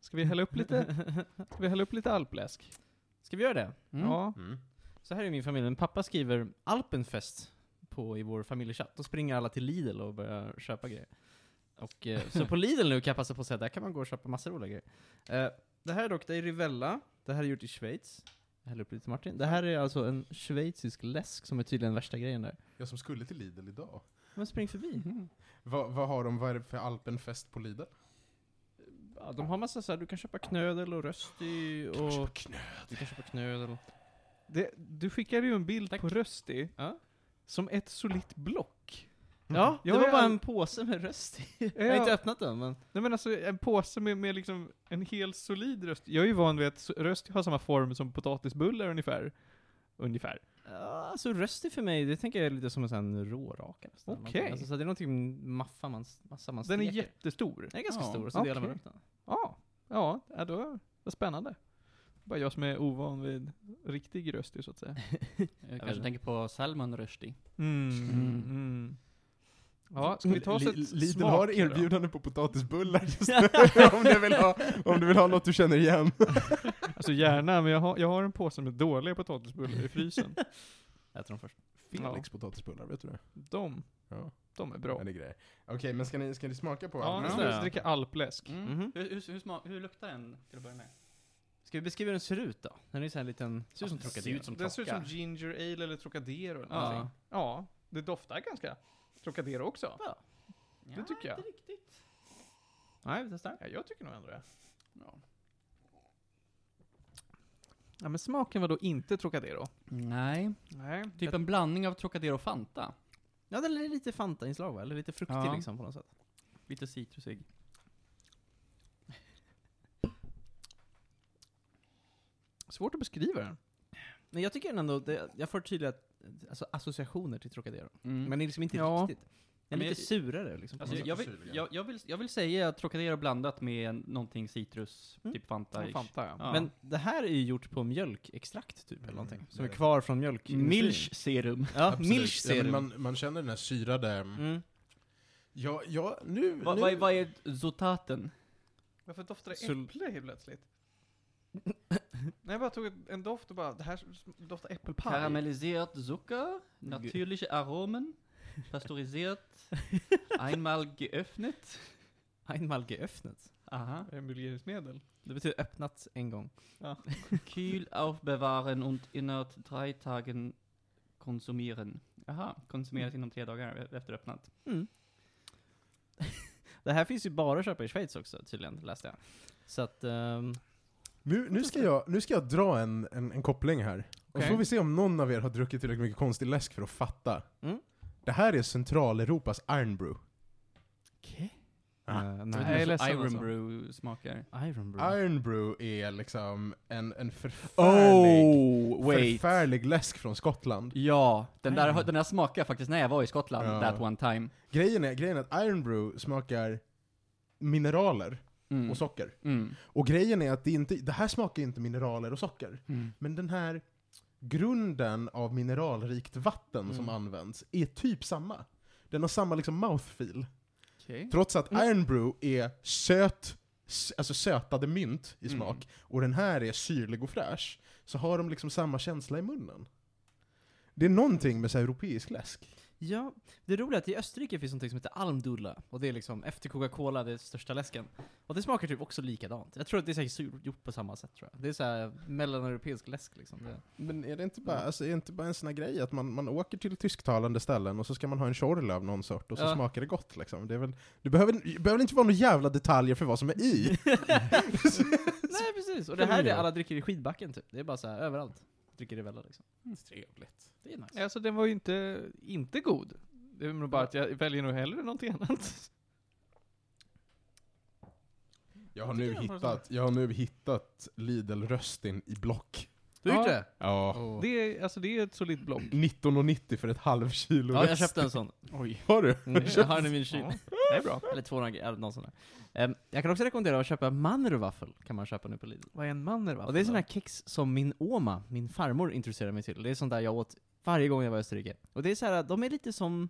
Ska vi hälla upp lite, ska vi hälla upp lite alpläsk? Ska vi göra det? Ja. Mm. Så här är min familj. Min pappa skriver Alpenfest på, i vår familjechatt. Då springer alla till Lidl och börjar köpa grejer. Och, eh, så på Lidl nu kan jag passa på att säga att där kan man gå och köpa massa roliga grejer. Eh, det här är dock, det är Rivella. Det här är gjort i Schweiz. Jag häller upp lite till Martin. Det här är alltså en schweizisk läsk som är tydligen värsta grejen där. Mm. Jag som skulle till Lidl idag. Men spring förbi. Vad, vad har de vad är det för alpenfest på Lidl? Ja, de har massa så här, du kan köpa knödel och rösti och... Du kan köpa knödel. Det, du skickade ju en bild Tack. på Rösti Ja. som ett solitt block. Mm. Ja, det Jag var är bara all- en påse med röst i. Jag har Ja. inte öppnat den, men... Nej men alltså en påse med, med liksom en hel solid röst. Jag är ju van vid att s- röst har samma form som potatisbullar ungefär. Ungefär. Ja, Alltså röstig för mig, det tänker jag är lite som en sån här rårakare. Okej. Okay. Alltså, så det är någonting maffa man, massa man Den är steker. jättestor. Den är ganska Ja, stor, så delar man okej. upp den. Ja. Ja, ja då, vad spännande. Bara jag som är ovan vid riktig rösti så att säga. Jag vet inte. kanske tänker på Salman Rushdie. Mm, Mm. mm. Ja, ska vi ta oss ett Li- Lidl smak har nu då? erbjudande på potatisbullar just nu, om, du vill ha, om du vill ha något du känner igen. Alltså gärna, men jag har, jag har en påse med dåliga potatisbullar i frysen. Jag äter dem först. Felix potatisbullar, vet du det? De, Ja, de är ja. bra. det är grejer. Okej, men ska ni, ska ni smaka på Ja, nu alpen? ska vi Ja. dricka alpläsk. Mm. Mhm. Hur, hur, hur, sma- hur luktar den till att börja med? Ska vi beskriva hur den ser ut då? Den är ju så här liten... Ser ut som Ja, den Trocadero. Den ser ut som ginger ale eller Trocadero eller Ja. någonting. Ja, det doftar ganska Trocadero också. Ja. Det tycker jag. Inte riktigt. Nej, vi testar. Ja, jag tycker nog ändå det. Ja. Ja, men smaken var då inte Trocadero. Nej, Nej. typ en blandning av Trocadero och Fanta. Ja, den är lite Fanta-inslag va? Eller lite fruktig Ja. liksom på något sätt. Lite citrusig. Svårt att beskriva den. Men jag tycker den ändå, det, jag får tydliga alltså, associationer till Trocadero. Mm. Men det är liksom inte Ja. riktigt. Den är Men lite jag- surare liksom. på Alltså, något sätt. jag, vill, jag, jag, vill, jag vill säga att Trocadero blandat med någonting citrus, Mm. typ Fanta. Ja, Fanta, ja. Ja. Men det här är ju gjort på mjölkextrakt typ, eller Mm, någonting. det Som är är det. kvar från mjölk. Milch serum. Ja, Absolut. milch ja, men serum. man, man känner den här syrade... Mm. Ja, ja, nu... nu. Vad vad är, vad är zotaten? Varför doftar det Sul- äpple helt plötsligt? Nej, jag bara tog ett- en doft och bara, det här sm- doftar äppelpaj. Karamelliserat Zucker, natürliche Aromen, pasteurisiert, einmal geöffnet. Einmal geöffnet. Aha. Emulgeringsmedel. Det betyder öppnat en gång. Kühl aufbewahren und innerhalb drei Tagen konsumieren. Aha, konsumeras inom tre dagar efter öppnat. Mm. Det här finns ju bara att köpa i Schweiz också tydligen, läste jag. Så att... ehm, Nu, nu, ska jag, nu ska jag dra en, en, en koppling här. Och så Okej. får vi se om någon av er har druckit tillräckligt mycket konstig läsk för att fatta. Mm. Det här är Centraleuropas Ironbrew. Ah. eh, Jag nej, vet jag är inte ledsen hur Iron alltså. Brew smakar. Iron Brew. Ironbrew är liksom en, en förfärlig, Oh, förfärlig läsk från Skottland. Ja, den där, Iron. den där smakar faktiskt när jag var i Skottland, Ja. that one time. Grejen är, grejen är att Ironbrew smakar mineraler Mm. och socker. Mm. Och grejen är att det, inte, det här smakar inte mineraler och socker. Mm. Men den här grunden av mineralrikt vatten som Mm. används är typ samma. Den har samma liksom mouthfeel. Okej. Trots att Iron Brew är söt, s- alltså sötade mynt i Mm. smak, och den här är syrlig och fräsch, så har de liksom samma känsla i munnen. Det är någonting med så här europeisk läsk. Ja, det roliga är att i Österrike finns något som heter Almdudla. Och det är liksom efter Coca-Cola, det är största läsken. Och det smakar typ också likadant. Jag tror att det är säkert sur- gjort på samma sätt tror jag. Det är såhär mellaneuropeisk läsk liksom. Det. Men är det inte bara- bara, alltså, är det inte bara en sån här grej att man, man åker till tysktalande ställen och så ska man ha en chorl av någon sort och så Ja. smakar det gott liksom? Det, är väl, det behöver, det behöver inte vara några jävla detaljer för vad som är i. Nej precis, och det här är det alla dricker i skidbacken typ. Det är bara så här överallt. Dricker Rivella liksom. Trevligt. Det är nice. Alltså den var ju inte, inte god. Det är nog bara att jag väljer nog hellre någonting annat. Jag har, nu hittat, jag har nu hittat Lidl-röstin i block. Du har gjort Ja. det? Ja. Åh. Det är, alltså det är ett solitt block. 19,90 för ett halvkilo Ja, jag röst. köpte en sån. Oj. Har du? Mm, jag har den i min kyl. Ja, det är bra. Eller 200 gram, eller någon sån där. Ehm, jag kan också rekommendera att köpa mannerwaffel, kan man köpa nu på Lidl. Vad är en mannervaffel? Och det är såna här kex som min Oma, min farmor, introducerade mig till. Det är sånt där jag åt varje gång jag var i Österrike. Och det är så här, de är lite som...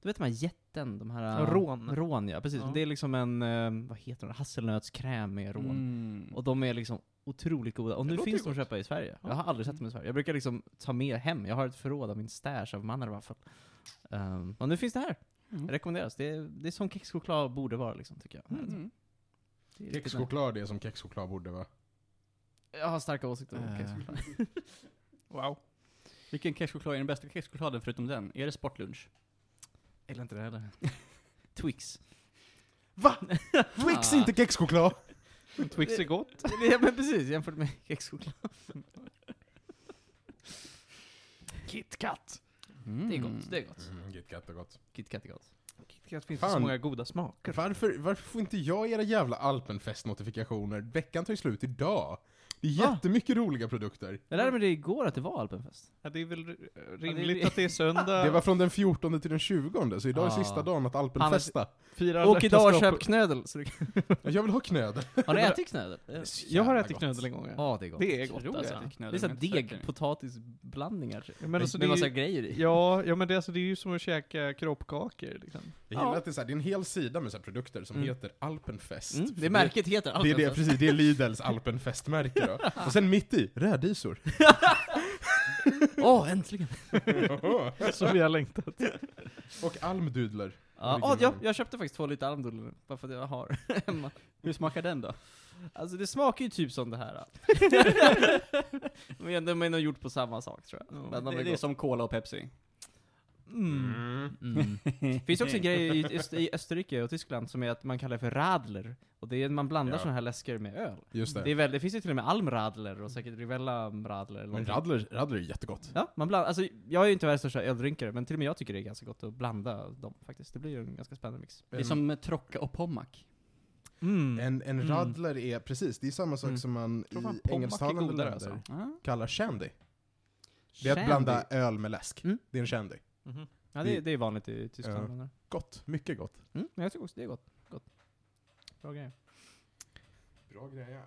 Du vet de här jätten, de här... Ja, rån. Rån ja, precis. Ja. Det är liksom en, eh, vad heter den, hasselnötskräm med rån. Mm. Och de är liksom otroligt goda. Och Det nu låter finns ju de att köpa i Sverige. Jag har aldrig sett dem i Sverige. Jag brukar liksom ta med hem. Jag har ett förråd av min stash av mannervaffel. Um, och nu finns det här. Mm. Rekommenderas. Det är, det är som kexchoklad borde vara liksom, tycker jag. Mm. Det är riktigt nice. Kexchoklad är som kexchoklad borde vara. Ah. Jag har starka åsikter om Eh. kexchoklad. Wow. Vilken kexchoklad är den bästa kexchokladen förutom den? Är det sportlunch? Eller inte det heller. Twix. Ah. Va? Twix är inte kexchoklad! Twix är gott. ja men precis, jämfört med kexchoklad. KitKat. Mm. Det är gott, det är gott. Mm, GitKat är gott. KitKat är gott. Mm. KitKat finns Fan. så många goda smaker. Varför, varför får inte jag era jävla Alpenfest-notifikationer? Veckan tar ju slut idag. Det är Ah. jättemycket roliga produkter. Jag lärde mig det igår att det var alpenfest. Ja, det är väl r- Ja, rimligt det är- att det är söndag. Det var från den 14 till den 20, så idag är Ah. sista dagen att alpenfesta. fyra alla Och idag hjärtas dag köp på- knödel. Så du kan... Jag vill ha knödel. Har ni ätit knödel? Jag har Jävla ätit gott. knödel en gång. ja. Ja, det är gott. Det är gott Tror jag alltså. att knödel, Det är såhär men jag försöker. degpotatisblandningar. Ja, men Med, alltså, med det är massa ju- grejer i. Ja, ja men det, alltså, det är ju som att käka kroppkakor liksom. Jag gillar Ja. att det är, så här, det är en hel sida med så här produkter som Mm. heter Alpenfest. Mm, För det märket heter Det är Alpenfest. det, precis, det är Lidls alpenfestmärke då. Och sen mitt i, rädisor. Åh, äntligen! Som vi har längtat. Och almdudler. Ja, Vilken åh, jag, man. jag köpte faktiskt två liter almdudlar nu, bara för att jag har hemma. Hur smakar den då? Alltså det smakar ju typ som det här. Men de är nog gjort på samma sak tror jag. Men de det, är det är gott. som cola och Pepsi. Mm. Mm. Finns också en grej i, Öst- i Österrike och Tyskland som är att man kallar det för radler. Och det är man blandar Ja. såna här läsker med öl. Just det. Det, är väl, det finns ju till och med almradler och säkert rivella radler eller Men någonting. radler, radler är jättegott. Ja, man bland, alltså, jag är ju inte världens största öldrinkare, men till och med jag tycker det är ganska gott att blanda dem faktiskt. Det blir ju en ganska spännande mix. Det är som med Trocca och Pommac. Mm. En, en Mm. radler är precis, det är samma sak Mm. som man tror fan i Pommac är engelsktalande godare, länder alltså. Ja. kallar shandy. Det är att blanda öl med läsk. Mm. Det är en shandy. Ja, det, är- det är vanligt i Ja. Tyskland. menar Gott, mycket gott. jag. Mm, men jag tycker också det är gott. gott. Bra grejer. Bra grejer.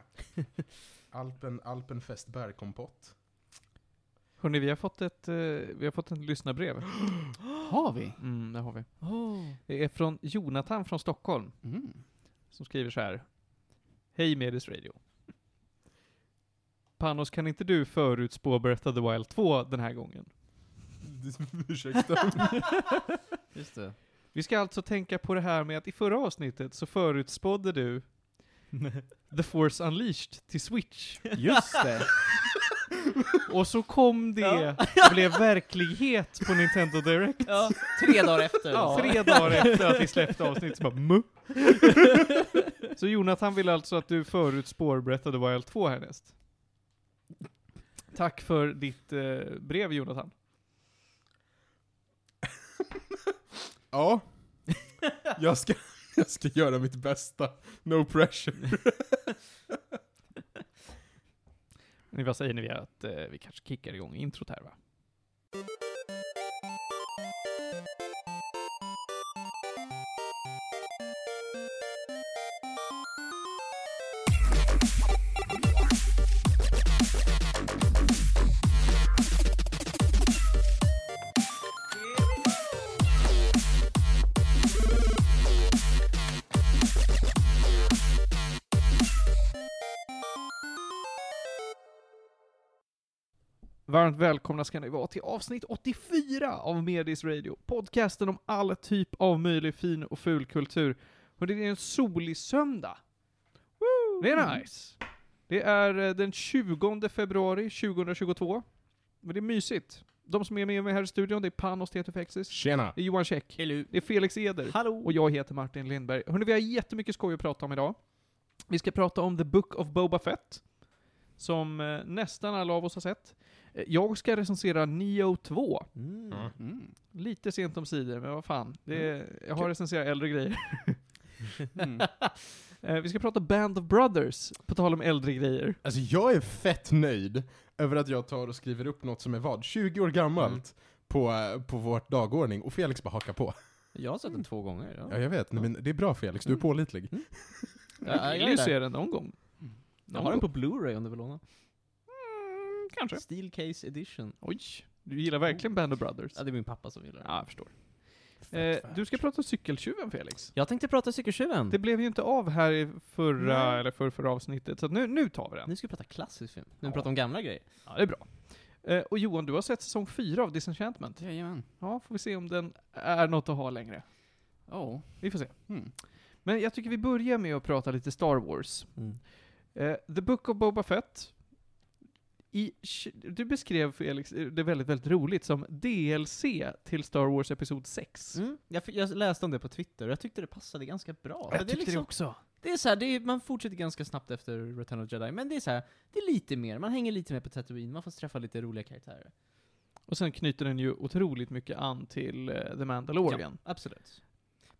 Alpen, Alpenfest bärkompott. Hörrni, vi har fått ett, eh, vi har fått ett lyssnarbrev. Har vi? Mm, det har vi. Det är från Jonathan från Stockholm, Mm. som skriver så här. Hej Medis Radio. Panos, kan inte du förutspå Breath of the Wild 2 den här gången? Ursäkta. Just det. Vi ska alltså tänka på det här med att i förra avsnittet så förutspådde du The Force Unleashed till Switch. Just det. Och så kom det, blev verklighet på Nintendo Direct. Ja, tre dagar efter. Tre dagar efter att vi släppte avsnittet så bara muh. Så Jonathan vill alltså att du förutspår Breath of the Wild 2 härnäst. Tack för ditt eh, brev Jonathan. Ja. Jag ska, jag ska göra mitt bästa. No pressure. Men Vad säger ni att eh, vi kanske kickar igång introt här va? Varmt välkomna ska ni vara till avsnitt 84 av Medis Radio, podcasten om all typ av möjlig fin och ful kultur. Och det är en solig söndag. Det är nice. Det är eh, den 20 februari 2022. Men det är mysigt. De som är med mig här i studion, det är Panos Tetufexis, Tjena. det är Johan Käck, Hello. det är Felix Eder. Hallå! Och jag heter Martin Lindberg. Hörrni, vi har jättemycket skoj att prata om idag. Vi ska prata om The Book of Boba Fett, som eh, nästan alla av oss har sett. Eh, Jag ska recensera Neo 2, Mm. Mm. lite sent om sidor, men vad fan. Det, Jag har recenserat äldre grejer. Mm. Eh, Vi ska prata Band of Brothers, på tal om äldre grejer. Alltså jag är fett nöjd över att jag tar och skriver upp något som är vad? 20 år gammalt Mm. på, eh, på vårt dagordning och Felix bara hakar på. Jag har sett den två gånger. Ja. Mm. Ja jag vet, Nej, men det är bra Felix, du är pålitlig. Ja, Jag jag vill ju är där. se den någon gång. Jag har den på Blu-ray om du vill låna. Mm, Kanske. Steelcase edition. Oj, du gillar verkligen Band of Brothers. Ja, det är min pappa som gillar den. Ja, jag förstår. Eh, du ska prata cykeltjuven Felix. Jag tänkte prata cykeltjuven. Det blev ju inte av här i förra, Mm. Nej. eller för, förra avsnittet, så att nu, nu tar vi den. Nu ska vi prata klassisk film. Nu pratar om gamla grejer. Ja, det är bra. Eh, och Johan, du har sett säsong fyra av Disenchantment. Jajamän. Ja, får vi se om den är något att ha längre. Oh. Vi får se. Mm. Men jag tycker vi börjar med att prata lite Star Wars. Eh, The Book of Boba Fett. I, du beskrev Felix eh, det väldigt, väldigt roligt som DLC till Star Wars Episod 6. Mm. Jag, fick- jag läste om det på Twitter och jag tyckte det passade ganska bra. För det, är liksom, också. det är så här, det är, man fortsätter ganska snabbt efter Return of the Jedi, men det är så här, det är lite mer, man hänger lite mer på Tatooine, man får träffa lite roliga karaktärer. Och sen knyter den ju otroligt mycket an till eh, The Mandalorian. Absolut.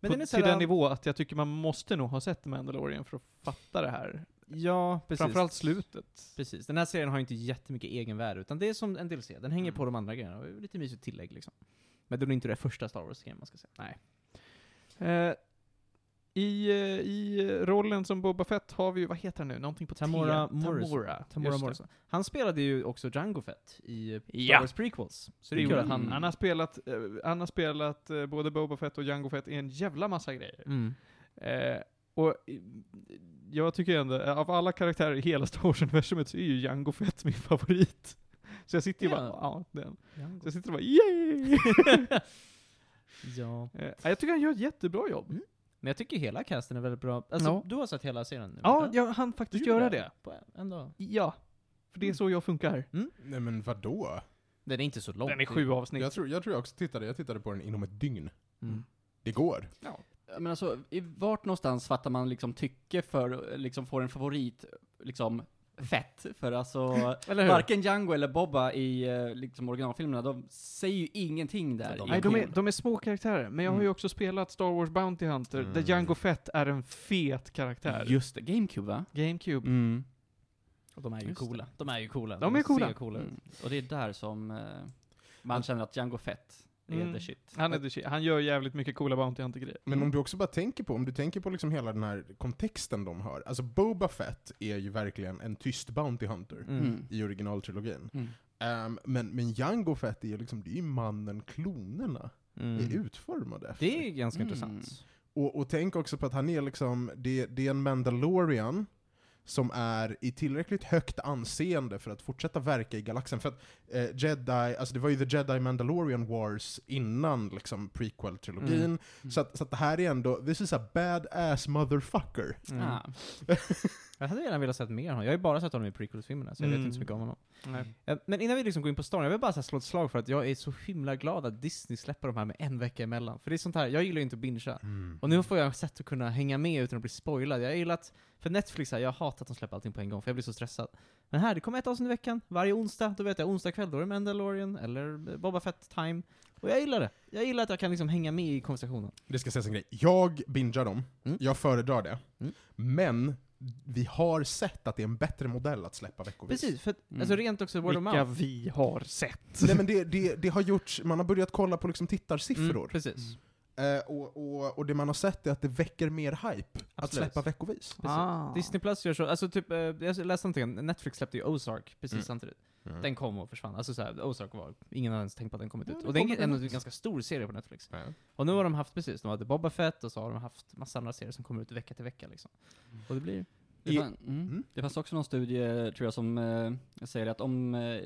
Men Men På, den är så till här- den nivå att jag tycker man måste nog ha sett The Mandalorian för att fatta det här. Ja, precis. Framförallt slutet. Precis. Den här serien har ju inte jättemycket egenvärde, utan det är som en DLC. Den Mm. hänger på de andra grejerna, och är lite mysigt tillägg liksom. Men det är inte det första Star Wars-serien man ska säga. Nej. Eh, i, eh, I eh, rollen som Boba Fett har vi ju, vad heter han nu? Någonting på T. Tamora Morrison. Tamora. Tamora Just det. Morrison. Han spelade ju också Django Fett i eh, Star Ja. Wars prequels. Så det är Det kul gjorde att han... han. Han har spelat, eh, han har spelat eh, både Boba Fett och Jango Fett i en jävla massa grejer. Mm. Eh, och eh, jag tycker ändå, eh, av alla karaktärer i hela Star Wars-universumet så är ju Jango Fett min favorit. Så jag sitter ju Ja. bara, ja, den. Så Django. jag sitter och bara, yay! ja. eh, jag tycker han gör ett jättebra jobb. Mm. Men jag tycker hela casten är väldigt bra. Alltså, Ja. du har sett hela serien nu? Ja, eller? jag hann Du faktiskt gjorde göra det. Mm. På en, en dag. Ja. För det är så jag funkar. Nej men vadå? Den är inte så lång. Den är sju avsnitt. Jag tror jag, tror jag också tittade, jag tittade på den inom ett dygn. Mm. Det går. Men alltså, i vart någonstans fattar man liksom tycke för, liksom får en favorit, liksom, fett? För alltså, Eller hur? varken Django eller Bobba i eh, liksom originalfilmerna, de säger ju ingenting där. Så de- i Nej, de är, filmen. de är små karaktärer, men jag har ju också spelat Star Wars Bounty Hunter, där Mm. Jango Fett är en fet karaktär. Just det, GameCube va? GameCube. Mm. Och de är ju Just coola. De är ju coola. De är coola. ser coola ut. Mm. Och det är där som eh, man känner att Django Fett är Mm. the shit. Han, är the shit. han gör jävligt mycket coola Bounty Hunter-grejer. Men Mm. om du också bara tänker på, om du tänker på liksom hela den här kontexten de har. Alltså Boba Fett är ju verkligen en tyst Bounty Hunter Mm. Mm. i originaltrilogin. Mm. Ehm, men, men Jango Fett är ju liksom, det är ju mannen klonerna är Mm. utformade efter. Det är ganska Mm. intressant. Och, och tänk också på att han är liksom, det, det är en Mandalorian som är i tillräckligt högt anseende för att fortsätta verka i galaxen. För att eh, Jedi, alltså det var ju The Jedi Mandalorian Wars innan liksom prequel-trilogin. Mm. Så, att, så att det här är ändå, this is a badass motherfucker. Mm. Ah. Jag hade gärna velat sett mer av honom. Jag har ju bara sett honom i prequels-filmerna, så jag vet Mm. inte så mycket om honom. Nej. Eh, Men innan vi liksom går in på storyn, jag vill bara så här slå ett slag för att jag är så himla glad att Disney släpper de här med en vecka emellan. För det är sånt här, jag gillar ju inte att bingea. Och nu får jag sätt att kunna hänga med utan att bli spoilad. Jag har gillat, för Netflix, här, jag hatar att de släpper allting på en gång för jag blir så stressad. Men här, det kommer ett avsnitt i veckan, varje onsdag, då vet jag onsdag kväll, då är det Mandalorian eller Boba Fett time. Och jag gillar det. Jag gillar att jag kan liksom hänga med i konversationen. Det ska sägas en grej, jag bingar dem, Mm. jag föredrar det. Mm. Men vi har sett att det är en bättre modell att släppa veckovis. Precis, för att, Mm. alltså rent också word of Vilka mouth. vi har sett. Nej men det, det, det har gjorts, man har börjat kolla på liksom tittarsiffror. Mm, precis. Eh, och, och, och det man har sett är att det väcker mer hype att Absolut. släppa veckovis. Ah. Disney Plus gör så, alltså typ, eh, jag läste någonting, Netflix släppte ju Ozark precis Mm. samtidigt. Mm. Den kom och försvann. Alltså såhär, Ozark var, ingen hade ens tänkt på att den kommit Ja, ut. det Och det är kommer en, den en ut. ganska stor serie på Netflix. Och nu har de haft precis, de hade Boba Fett och så har de haft massa andra serier som kommer ut vecka till vecka liksom. Och det blir... Det, I- fan, mm. Mm. det fanns också någon studie, tror jag, som eh, säger att om eh,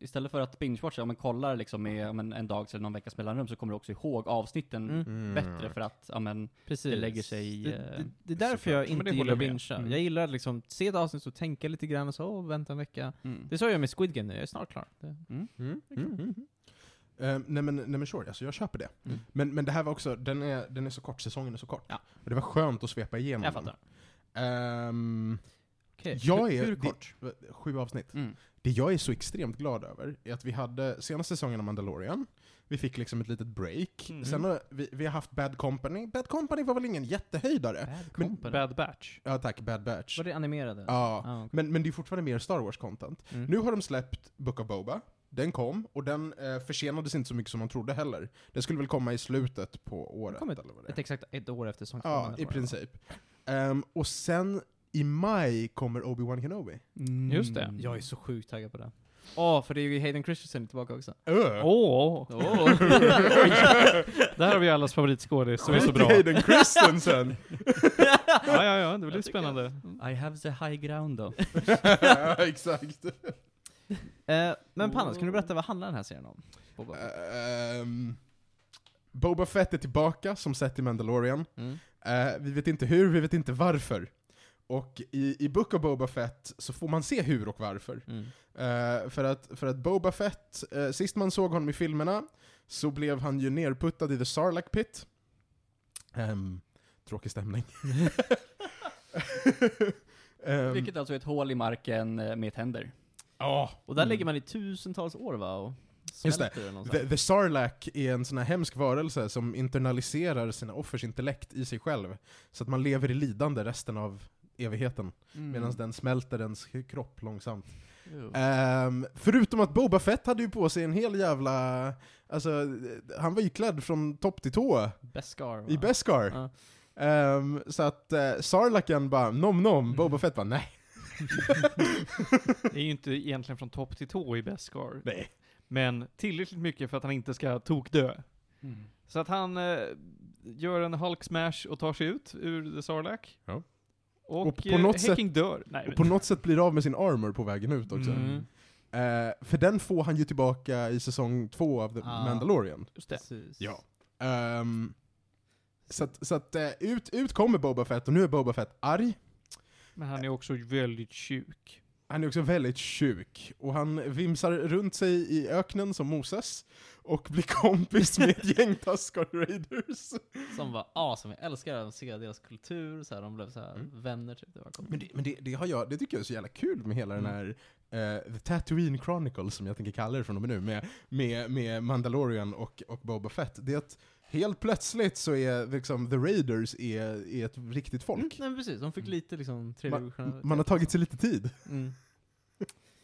Istället för att binge-watcha, om man kollar liksom med om en, en dags eller någon veckas mellanrum så kommer du också ihåg avsnitten Mm. bättre för att, ja men, Precis. Det lägger sig i, Det, eh, det, det är därför jag såklart. Men inte det håller gillar att bingea. jag med. Mm. Jag gillar att liksom se ett avsnitt och tänka lite grann och så, åh, vänta en vecka. mm. Det är så jag gör med Squid Game nu, jag är snart klar. Det, Mm. Mm. Mm. Eh, nej, men, nej men sure, alltså jag köper det. Mm. Men, men det här var också, den är, den är så kort, säsongen är så kort. Ja. Och det var skönt att svepa igenom jag fattar. Eh, den. Ehm, Okej. jag är, hur det- kort? Sju avsnitt. Mm. Det jag är så extremt glad över är att vi hade senaste säsongen av Mandalorian, vi fick liksom ett litet break. Mm. Sen har vi, vi har haft Bad Company, Bad Company var väl ingen jättehöjdare? Bad men- Company. Bad Batch. Ja tack, Bad Batch. Var det animerade? Ja. Ah, okej. Men, men det är fortfarande mer Star Wars-content. Mm. Nu har de släppt Book of Boba. Den kom, och den eh, försenades inte så mycket som man trodde heller. Den skulle väl komma i slutet på året, kom eller vad det Ett är. exakt ett år efter säsong två, Ja, eller i vad det princip. Ehm, och sen i maj kommer Obi-Wan Kenobi. Just det. var. Jag är så sjukt taggad på det. Åh, Mm. för det är ju Hayden Christensen tillbaka också. Öh! Åh! Åh. Där har vi allas favoritskådis som är så bra. Hayden Christensen! Ja, ja, ja, det blir spännande. I have the high ground då. Exakt. Eh, men Pannas, kan du berätta vad handlar den här serien om? Boba Eh, Fett? Ehm, Boba Fett är tillbaka som sett i Mandalorian. Mm. Eh, vi vet inte hur, vi vet inte varför. Och i, i Book of Boba Fett så får man se hur och varför. Mm. Eh, för, att, för att Boba Fett, eh, sist man såg honom i filmerna så blev han ju nerputtad i The Sarlacc Pit. Ehm, tråkig stämning. Ehm, ah, Vilket alltså är ett hål i marken eh, med tänder. ja, Och där Mm. lägger man i tusentals år va? Och Just det. smälter eller något sånt. The, the Sarlacc är en sån här hemsk varelse som internaliserar sina offers intellekt i sig själv. Så att man lever i lidande resten av evigheten. Mm. Mm. Medan den smälter ens kropp långsamt. Jo. Ehm, förutom att Boba Fett hade ju på sig en hel jävla... Alltså, eh, han var ju klädd från topp till tå Beskar va? i Beskar. Ja. Ehm, så att uh, Sarlacken bara nom nom, Boba Fett bara nej. Det är ju inte egentligen från topp till tå i Beskar. nej. Men tillräckligt mycket för att han inte ska tokdö. Mm. Så att han eh, gör en Hulk smash och tar sig ut ur The Sarlacc. Ja. Och, Och på eh, något Häcking dör. Nej, Och på något sätt blir av med sin armor på vägen ut också. Mm. Eh, för den får han ju tillbaka i säsong två av The Ah. Mandalorian. just det. Precis. Ja. Ehm, så att, så att eh, ut, ut kommer Boba Fett och nu är Boba Fett arg. Men han är också väldigt sjuk. Han är också väldigt sjuk, och han vimsar runt sig i öknen som Moses, och blir kompis med ett gäng Tuskar Raiders. Som var awesome, jag älskar att se deras kultur, så här, de blev så här Mm. vänner typ. Det var coolt. Men, det, men det, det, har jag, det tycker jag är så jävla kul med hela den Mm. här eh, The Tatooine Chronicles, som jag tänker kalla det från och med nu, med, med, med Mandalorian och, och Boba Fett. Det är att helt plötsligt så är liksom, The Raiders är, är ett riktigt Mm, folk. nej, men precis, de fick lite liksom Man, tredimensionalitet. man har tagit sig lite tid. Mm.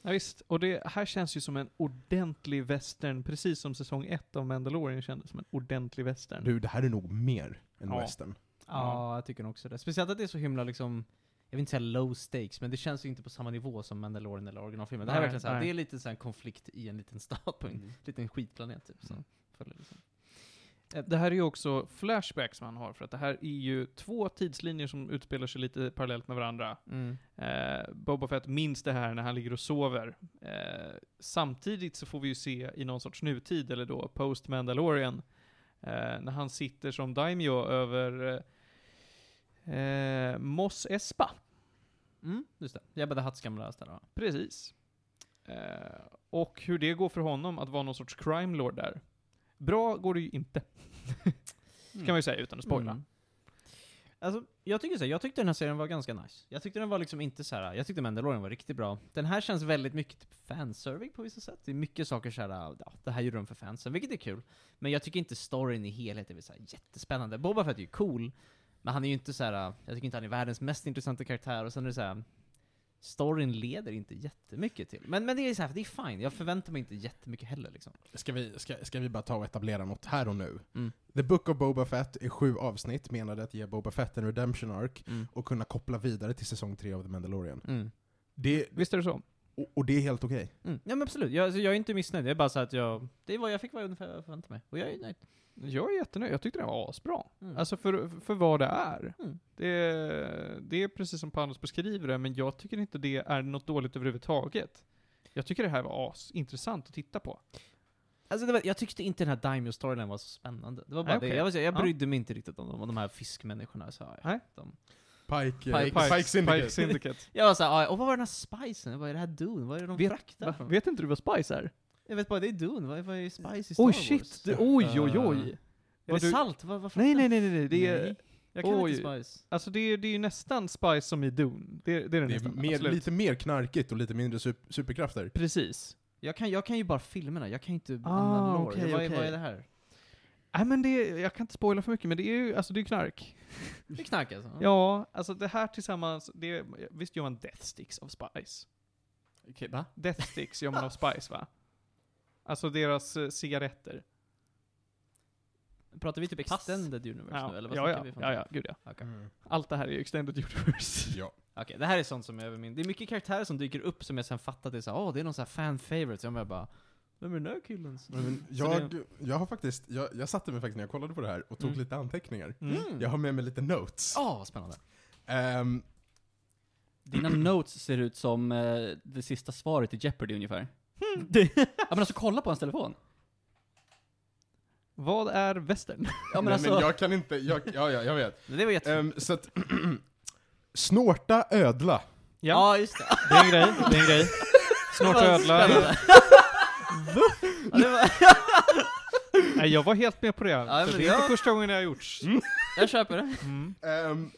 Ja, visst. Och det här känns ju som en ordentlig western, precis som säsong ett av Mandalorian kändes som en ordentlig western. Du, det här är nog mer än Ja. western. Ja, jag tycker nog också det. Speciellt att det är så himla liksom, jag vill inte säga low stakes, men det känns ju inte på samma nivå som Mandalorian eller originalfilmen. Det här är Nej, verkligen så här, nej. det är lite så här en konflikt i en liten stad på en Mm. liten skitplanet typ. Så. följer Liksom. Eh, Det här är ju också flashbacks man har, för att det här är ju två tidslinjer som utspelar sig lite parallellt med varandra. Mm. Eh, Boba Fett minns det här när han ligger och sover. Eh, samtidigt så får vi ju se i någon sorts nutid, eller då post Mandalorian, eh, när han sitter som Daimyo över eh, eh, Mos Espa. Mm, just det. Jabba the Hutts gamla ställe. va? Precis. Eh, och hur det går för honom att vara någon sorts crime lord där. Bra går det ju inte, Mm. kan man ju säga utan att spoila. Mm. Alltså, jag tycker så här, jag tyckte den här serien var ganska nice. Jag tyckte den var liksom inte så här. jag tyckte Mandalorian var riktigt bra. Den här känns väldigt mycket typ fanserving på vissa sätt. Det är mycket saker så här, äh, ja, det här gjorde de för fansen, vilket är kul. Men jag tycker inte storyn i helhet är så här jättespännande. Boba Fett är ju cool, men han är ju inte så här. äh, jag tycker inte han är världens mest intressanta karaktär, och sen är det så här. Storyn leder inte jättemycket till. Men, men det är så här, det är fine. Jag förväntar mig inte jättemycket heller liksom. Ska vi, ska, ska vi bara ta och etablera något här och nu? Mm. The Book of Boba Fett är sju avsnitt menade att ge Boba Fett en redemption arc Mm. och kunna koppla vidare till säsong tre av The Mandalorian. Mm. Det, Visst är det så? och, och det är helt okej. Mm. Ja men absolut, jag, alltså, jag är inte missnöjd. Det är bara så att jag, det var, jag fick vad jag ungefär förväntade mig. Och jag är nöjd. Jag är jättenöjd, jag tyckte den var asbra. Mm. Alltså för, för vad det är. Mm. Det, det är precis som Panos beskriver det, men jag tycker inte det är något dåligt överhuvudtaget. Jag tycker det här var asintressant att titta på. Alltså det var, jag tyckte inte den här daimyo storyn var så spännande. Det var bara Nej, okej. det. Jag, var, så- jag Ja. brydde mig inte riktigt om dem, om de här fiskmänniskorna. Så, ja, Nej. de, Pike, Pike- Pike, Pike, Syndicate. Pike Syndicate. jag var såhär, ja, och vad var den här spicen? Vad är det här Dune? Vad är det de Vet- fraktar? från? Vet inte du vad Spice är? Jag vet bara, det är Dune. Vad är, vad är spice i Star Oj Wars? Eh, shit! Det, oj oj oj! Är Vad det du- salt? Vad, vad Nej fraktar- nej nej nej, nej. det är... Nej. Jag kan Oj. inte spice. Alltså det är, det är ju nästan Spice som i Dune. Det, det är det, Det är nästan. mer, absolut. lite mer knarkigt och lite mindre sup- superkrafter. Precis. Jag kan, jag kan ju bara filmerna, jag kan inte Ah, annan lore. vad, okej, är, okej. vad är det här? Nej men det, jag kan inte spoila för mycket, men det är ju, alltså det är ju knark. Det är knark alltså? Ja, alltså det här tillsammans, det, visst gör man Death Sticks av Spice? Okej, va? Death Sticks gör man av Spice va? Alltså deras eh, cigaretter. Pratar vi typ Pass. extended universe nu, eller vad ja, snackar ja, vi för ja, ja, gud ja. Okej. Mm. Allt det här är ju extended universe. Ja. Ja, Okej, det här är sånt som är över min... Det är mycket karaktärer som dyker upp som jag sen fattat är såhär, åh det är någon sån här fan favorite. Så jag bara, vem är den där killen? Men jag, jag har faktiskt, jag, jag satte mig faktiskt när jag kollade på det här och tog Mm. lite anteckningar. Mm. Jag har med mig lite notes. Åh, vad spännande. Ehm, Dina notes ser ut som eh, det sista svaret i Jeopardy ungefär. ja men alltså kolla på hans telefon. Vad är västern? Ja men nej, alltså, men jag kan inte, jag, ja, ja jag vet. Men Det var jättefint. Ehm, så att, snorta ödla. Ja. Ja, just det. Det är en grej, det är en grej. Snart Vad ödla. spännande. Ja, det var, Nej, jag var helt med på det. Ja, men för det är inte jag- första gången det har gjorts. jag köper det. Mm. Ehm,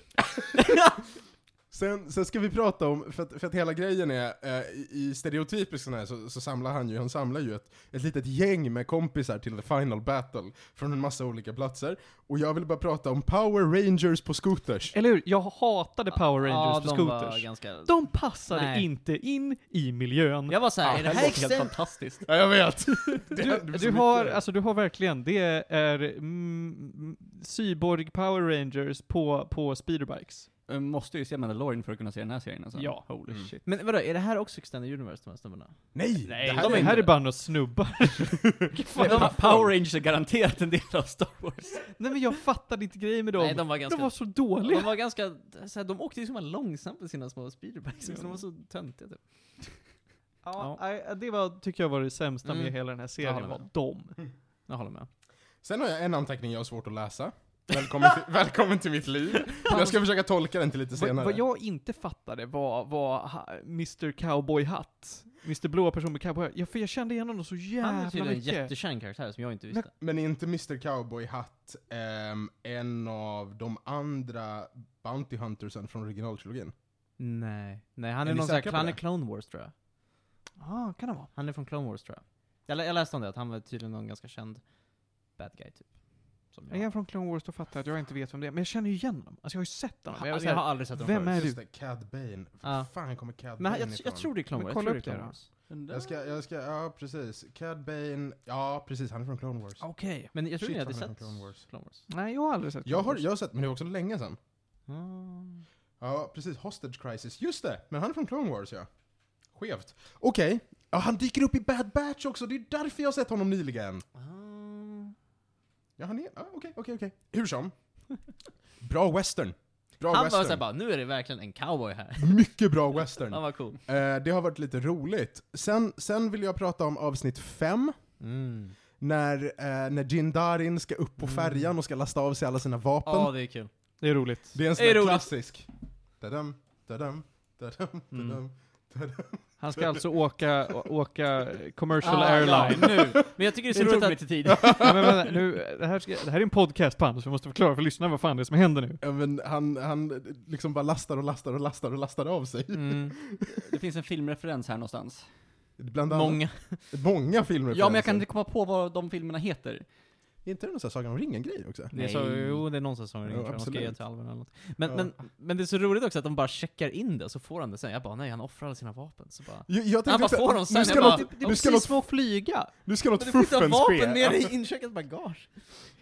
sen, sen ska vi prata om, för att, för att hela grejen är, eh, i- i stereotypisk sån här så, så samlar han ju, han samlar ju ett, ett litet gäng med kompisar till the final battle från en massa olika platser. Och jag vill bara prata om Power Rangers på scooters. Eller hur? Jag hatade Power Rangers ja, på de var scooters. ganska... De passade Nej. inte in i miljön. Jag var såhär, är det här låter helt extremt? fantastiskt. Ja, jag vet! Det Du, händer så du, mycket. har, alltså, du har verkligen, det är mm, cyborg Power Rangers på, på speederbikes. Eh, Måste ju se Mandalorian för att kunna se den här serien alltså. Ja. Holy Mm. shit. Men vadå, är det här också Extended Universe, de här snubbarna? Nej! Nej, det Det här här, de det är här inte- är bara några snubbar. Nej, Pa- Power Rangers är garanterat en del av Star Wars. Nej men jag fattade inte grejen med dem. Nej, de var de ganska... var så dåliga. De var ganska, såhär, de åkte ju så himla långsamt på sina små speederbikes, så de var så töntiga typ. Ja, nej, det var, tycker jag var det sämsta Mm. med hela den här Jag serien, håller var med. de. Jag håller med. Sen har jag en anteckning jag har svårt att läsa. Välkommen till, välkommen till mitt liv. Jag ska försöka tolka den till lite Vad, senare. vad jag inte fattade var, var ha, Mr Cowboy Hatt. Mr Blåa person med cowboy ja, för jag kände igen honom så Han är jävla tydligen en mycket. jättekärn karaktär som jag inte visste. Men är inte Mr Cowboy Hatt ehm, en av de andra Bounty Huntersen från originaltrilogin? Nej. Nej, han Är är, ni någon sån här, säkra på han är det? Clone Wars tror jag. ah, kan det vara. Han är från Clone Wars tror jag. Jag, lä- jag läste om det, att han var tydligen någon ganska känd bad guy typ. Som Jag är från Clone Wars, då fattar jag att jag inte vet vem det är. Men jag känner ju igen honom. Alltså jag har ju sett honom. Han- Jag var alltså, så jag här, har aldrig sett honom vem förut. är Just du? det, Cad Bane. Var Ja. fan kommer Cad Men Bane han- jag, ifrån? jag tror det är Clone Wars. Men kolla jag tror upp det är det Clone då. Wars. Jag ska, jag ska, ja precis. Cad Bane, ja precis, han är från Clone Wars. Okej. Men jag tror Shit, ni hade han är från sett Clone Wars. Clone Wars. Nej, jag har aldrig sett Jag Clone har, Wars. jag har sett, men det är också länge sedan. Mm. Ja, precis. Hostage Crisis. Just det! Men han är från Clone Wars, ja. Skevt. Okej. Ja, han dyker upp i Bad Batch också, det är därför jag har sett honom nyligen. Ja, han är... Ja, okej, okej, okej. Hur som. Bra western. Bra Han var western. såhär bara, nu är det verkligen en cowboy här. Mycket bra western. Han var cool. Eh, det har varit lite roligt. Sen, sen vill jag prata om avsnitt 5, Mm. när, eh, när Jindarin ska upp på färjan och ska lasta av sig alla sina vapen. Ja, det är kul. Det är roligt. det är en sån det är där roligt. klassisk. Dadam, dadam, dadam, Mm. dadam, dadam. Han ska alltså åka, å- åka commercial Ah, airline. Ja, nu. Men jag tycker det är Det så tog roligt mig att... till tid. Nej, men vänta, nu, det, här ska, det här är en podcast på Anders, vi måste förklara för lyssnarna vad fan det är som händer nu. Ja, men han, han liksom bara lastar och lastar och lastar och lastar av sig. Mm. Det finns en filmreferens här någonstans. Bland annat, Många. många filmer. Ja men jag kan inte komma på vad de filmerna heter. Är inte det någon sån här Sagan om ringen-grej också? Det är så, Nej. jo, det är någon säsong Ja, ja, de ska absolut. ge till Alvin eller något. Men, Ja. men, men det är så roligt också att de bara checkar in det, och så får han det sen. Jag bara, nej, han offrar alla sina vapen. Så bara... Jag, jag tänkte Han bara också- får dem sen, nu ska jag bara, något, det- Det är nu ska precis något, som att flyga! nu ska något Men du får inte ha fuffens vapen ske. med dig i incheckat bagage.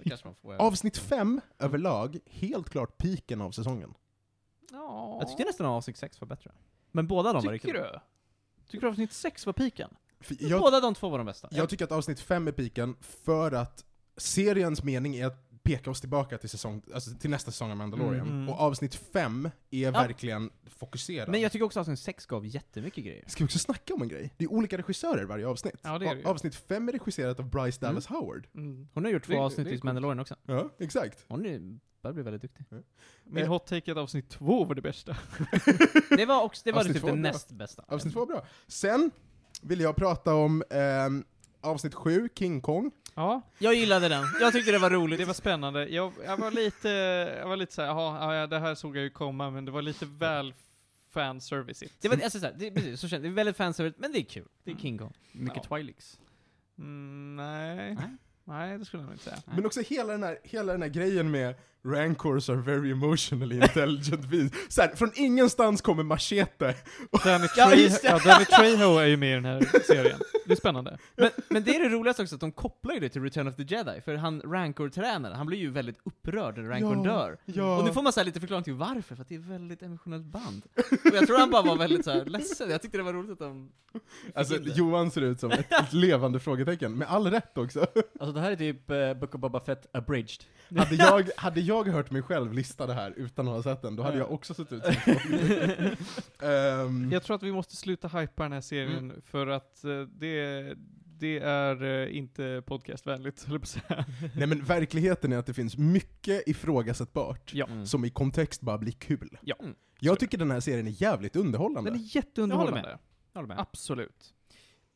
Det kanske man får. Jag, Avsnitt 5 överlag, helt klart piken av säsongen. Ja. jag tyckte nästan att avsnitt 6 var bättre. Men båda de var riktigt Tycker bra. du? Tycker du avsnitt 6 var piken? För Men Jag, Båda de två var de bästa. jag tycker att avsnitt 5 är piken för att seriens mening är att peka oss tillbaka till, säsong, alltså till nästa säsong av Mandalorian. Mm. Och avsnitt 5 är verkligen fokuserad. men jag tycker också att avsnitt 6 gav jättemycket grejer. Ska vi också snacka om en grej? Det är olika regissörer varje avsnitt. Ja, det är det ju. Och Avsnitt 5 är regisserat av Bryce Dallas Howard. Mm. Hon har gjort två Det- avsnitt det är i coolt. Mandalorian också. Mm. Ja, exakt. Hon är- börjar bli väldigt duktig. Min Eh. hot take är att avsnitt 2 var det bästa. Det var, också, det var Avsnitt typ två det är bra. näst bästa. Avsnitt 2 bra. Sen vill jag prata om ehm, avsnitt 7, King Kong. Ja, Jag gillade den. Jag tyckte det var roligt. det var spännande. Jag, jag var lite, jag var lite såhär, jaha, ja, det här såg jag ju komma, men det var lite väl fanserviceigt. Det var, alltså såhär, det, precis, så kände, det är väldigt fanservice, men det är kul. Det är Mm. King Kong. Mycket Ja. Twilix. Mm, nej. Nej. Nej, det skulle jag nog inte säga. Nej. Men också hela den, här, hela den här grejen med Rancors are very emotionally intelligent beasts. Så här, från ingenstans kommer machete. Danny, Ja, Trey- just det. ja, Danny Trejo är ju med i den här serien. Det är spännande. Men, men det är det roligaste också, att de kopplar ju det till Return of the Jedi, för han Rancor-tränaren, han blir ju väldigt upprörd när Rancor Ja. dör. Ja. Och nu får man så här lite förklaring till varför, för att det är ett väldigt emotionellt band. Och jag tror han bara var väldigt så här ledsen, jag tyckte det var roligt att de fick Alltså, in det. Johan ser ut som ett, ett levande frågetecken, med all rätt också. Alltså det här är typ eh, Book of Boba Fett abridged. Hade jag, hade jag hört mig själv lista det här utan att ha sett den, då hade jag också sett ut som ett frågetecken. Ehm, Jag tror att vi måste sluta hypa den här serien för att eh, det, det är eh, inte podcastvänligt, höll jag på att säga. Nej men verkligheten är att det finns mycket ifrågasättbart, Ja. Mm. som i kontext bara blir kul. Ja. Mm. Jag tycker den här serien är jävligt underhållande. Den är jätteunderhållande. Jag håller med. Absolut.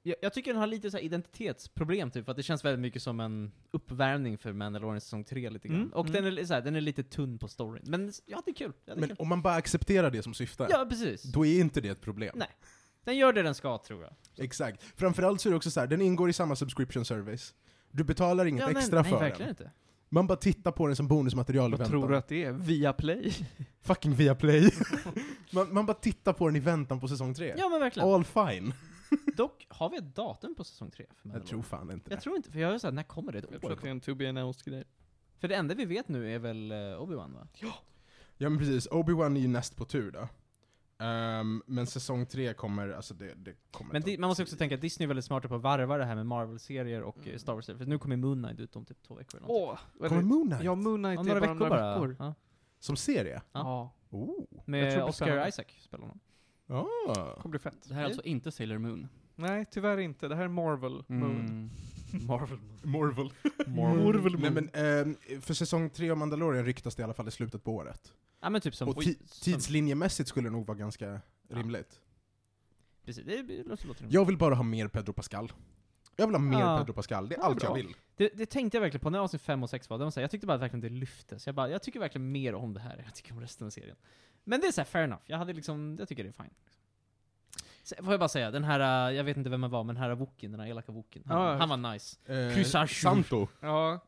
Jag, jag tycker den har lite så här identitetsproblem typ, för att det känns väldigt mycket som en uppvärmning för Mandalorian säsong 3 lite grann. Mm, Och mm. Den, är, li- så här, den är lite tunn på storyn. Men s- jag hade kul. Jag hade Men kul. om man bara accepterar det som syftar, Ja, precis. då är inte det ett problem. Nej. Den gör det den ska, tror jag. Exakt. Framförallt så är det också så här, den ingår i samma subscription service. Du betalar inget ja, nej, extra nej, för verkligen den. inte. Man bara tittar på den som bonusmaterial i Vad väntan. tror du att det är? Via play? Fucking Viaplay. man, man bara tittar på den i väntan på säsong tre. Ja, men verkligen. All fine. Dock, har vi ett datum på säsong 3 för Jag Mandalorian? tror fan inte det. jag tror inte, för jag är såhär, när kommer det? Ett Jag år? tror att det är en to be announced grej. För det enda vi vet nu är väl eh, Obi-Wan va? Ja men precis, Obi-Wan är ju näst på tur då. Ehm, men säsong tre kommer, alltså det, det kommer Men ta- di- man måste också tänka att Disney är väldigt smarta på att varva det här med Marvel-serier och eh, Star Wars-serier, för nu kommer Moon Knight ut om typ två veckor eller någonting. Mm. Åh! vad är Kommer det? Moon Knight? Ja, Moon Knight Om är några bara veckor några bara. veckor. Ja. Som serie? Ja. Oh. Jag tror det Med blir Oscar spännande. Isaac spelar honom. Ah. Det kommer bli fett. Det här är alltså inte Sailor Moon. Nej, tyvärr inte. Det här är Marvel Moon. Mm. Marvel. Marvel. Marvel Nej Moon. men, ehm, för säsong tre av Mandalorian ryktas det i alla fall i slutet på året. Ja men typ som... Och ti- som- tidslinjemässigt skulle det nog vara ganska rimligt. Precis, det är- låter, låter Jag vill bara ha mer Pedro Pascal. Jag vill ha mer Ja. Pedro Pascal, det är Ja, allt jag bra. vill. det, det tänkte jag verkligen på när avsnitt 5 och 6 var, det var så här, jag tyckte bara att verkligen det lyftes. Jag bara, jag tycker verkligen mer om det här än jag tycker om resten av serien. Men det är såhär, fair enough. Jag hade liksom, jag tycker det är fine. Sen får jag bara säga, den här, eh, jag vet inte vem han var, men den här Wookien, den här elaka Wookien, han, Ja, ja. han var nice. Eh, Kryssar- Santo. Ja, Mm.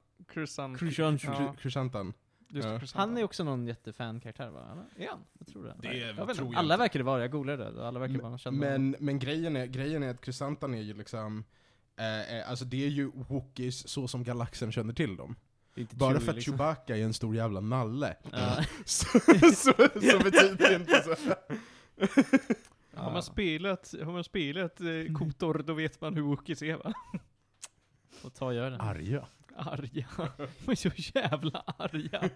Crusan. Ja. Krysantan. Just Ja. Crusan. Han är också någon jättefan-karaktär va? Eller? Är han? Jag tror det. Det Nej, jag vet tror inte. jag Alla inte. verkar det vara, jag googlade det. Alla verkar vara kända honom. Men, men grejen, är, grejen är att krysantan är ju liksom, eh, eh, alltså det är ju Wookiees så som galaxen känner till dem. Det är inte Bara Chewie, för att liksom. Chewbacca är en stor jävla nalle. Eh, Ja. så, så, så betyder det inte så. Har man spelat, har man spelat eh, Kotor, då vet man hur Wookies är va? Och ta och gör det. Arga. Arga. De är så jävla arga.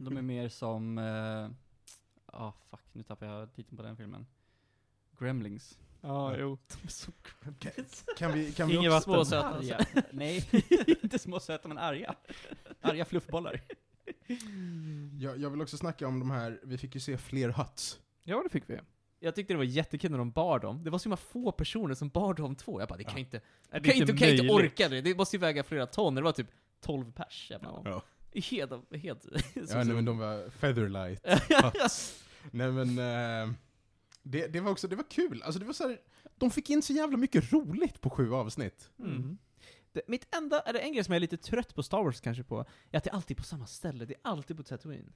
De är mer som... eh, Ah fuck, nu tappar jag titeln på den filmen. Gremlings. Ja, jo. Kan vi, kan vi Inget också, Små söta. Arga. Nej, inte små söta men arga. Arga fluffbollar. alltså. jag, jag vill också snacka om de här, vi fick ju se fler huts. Ja, det fick vi. Jag tyckte det var jättekul när de bar dem. Det var så himla få personer som bar de två. Jag bara, det kan Ja. inte... Nej, Du kan, inte, du kan inte möjligt. orka det. Det måste ju väga flera ton. Det var typ 12 pers. Jag bara, Ja. Helt... helt Ja, nej, men de var featherlight. Nej men, eh, det, det var också, det var kul. Alltså det var så här, de fick in så jävla mycket roligt på sju avsnitt. Mm. Det, mitt enda, är det en grej som jag är lite trött på Star Wars kanske på, är att det är alltid på samma ställe, det är alltid på Tatooine.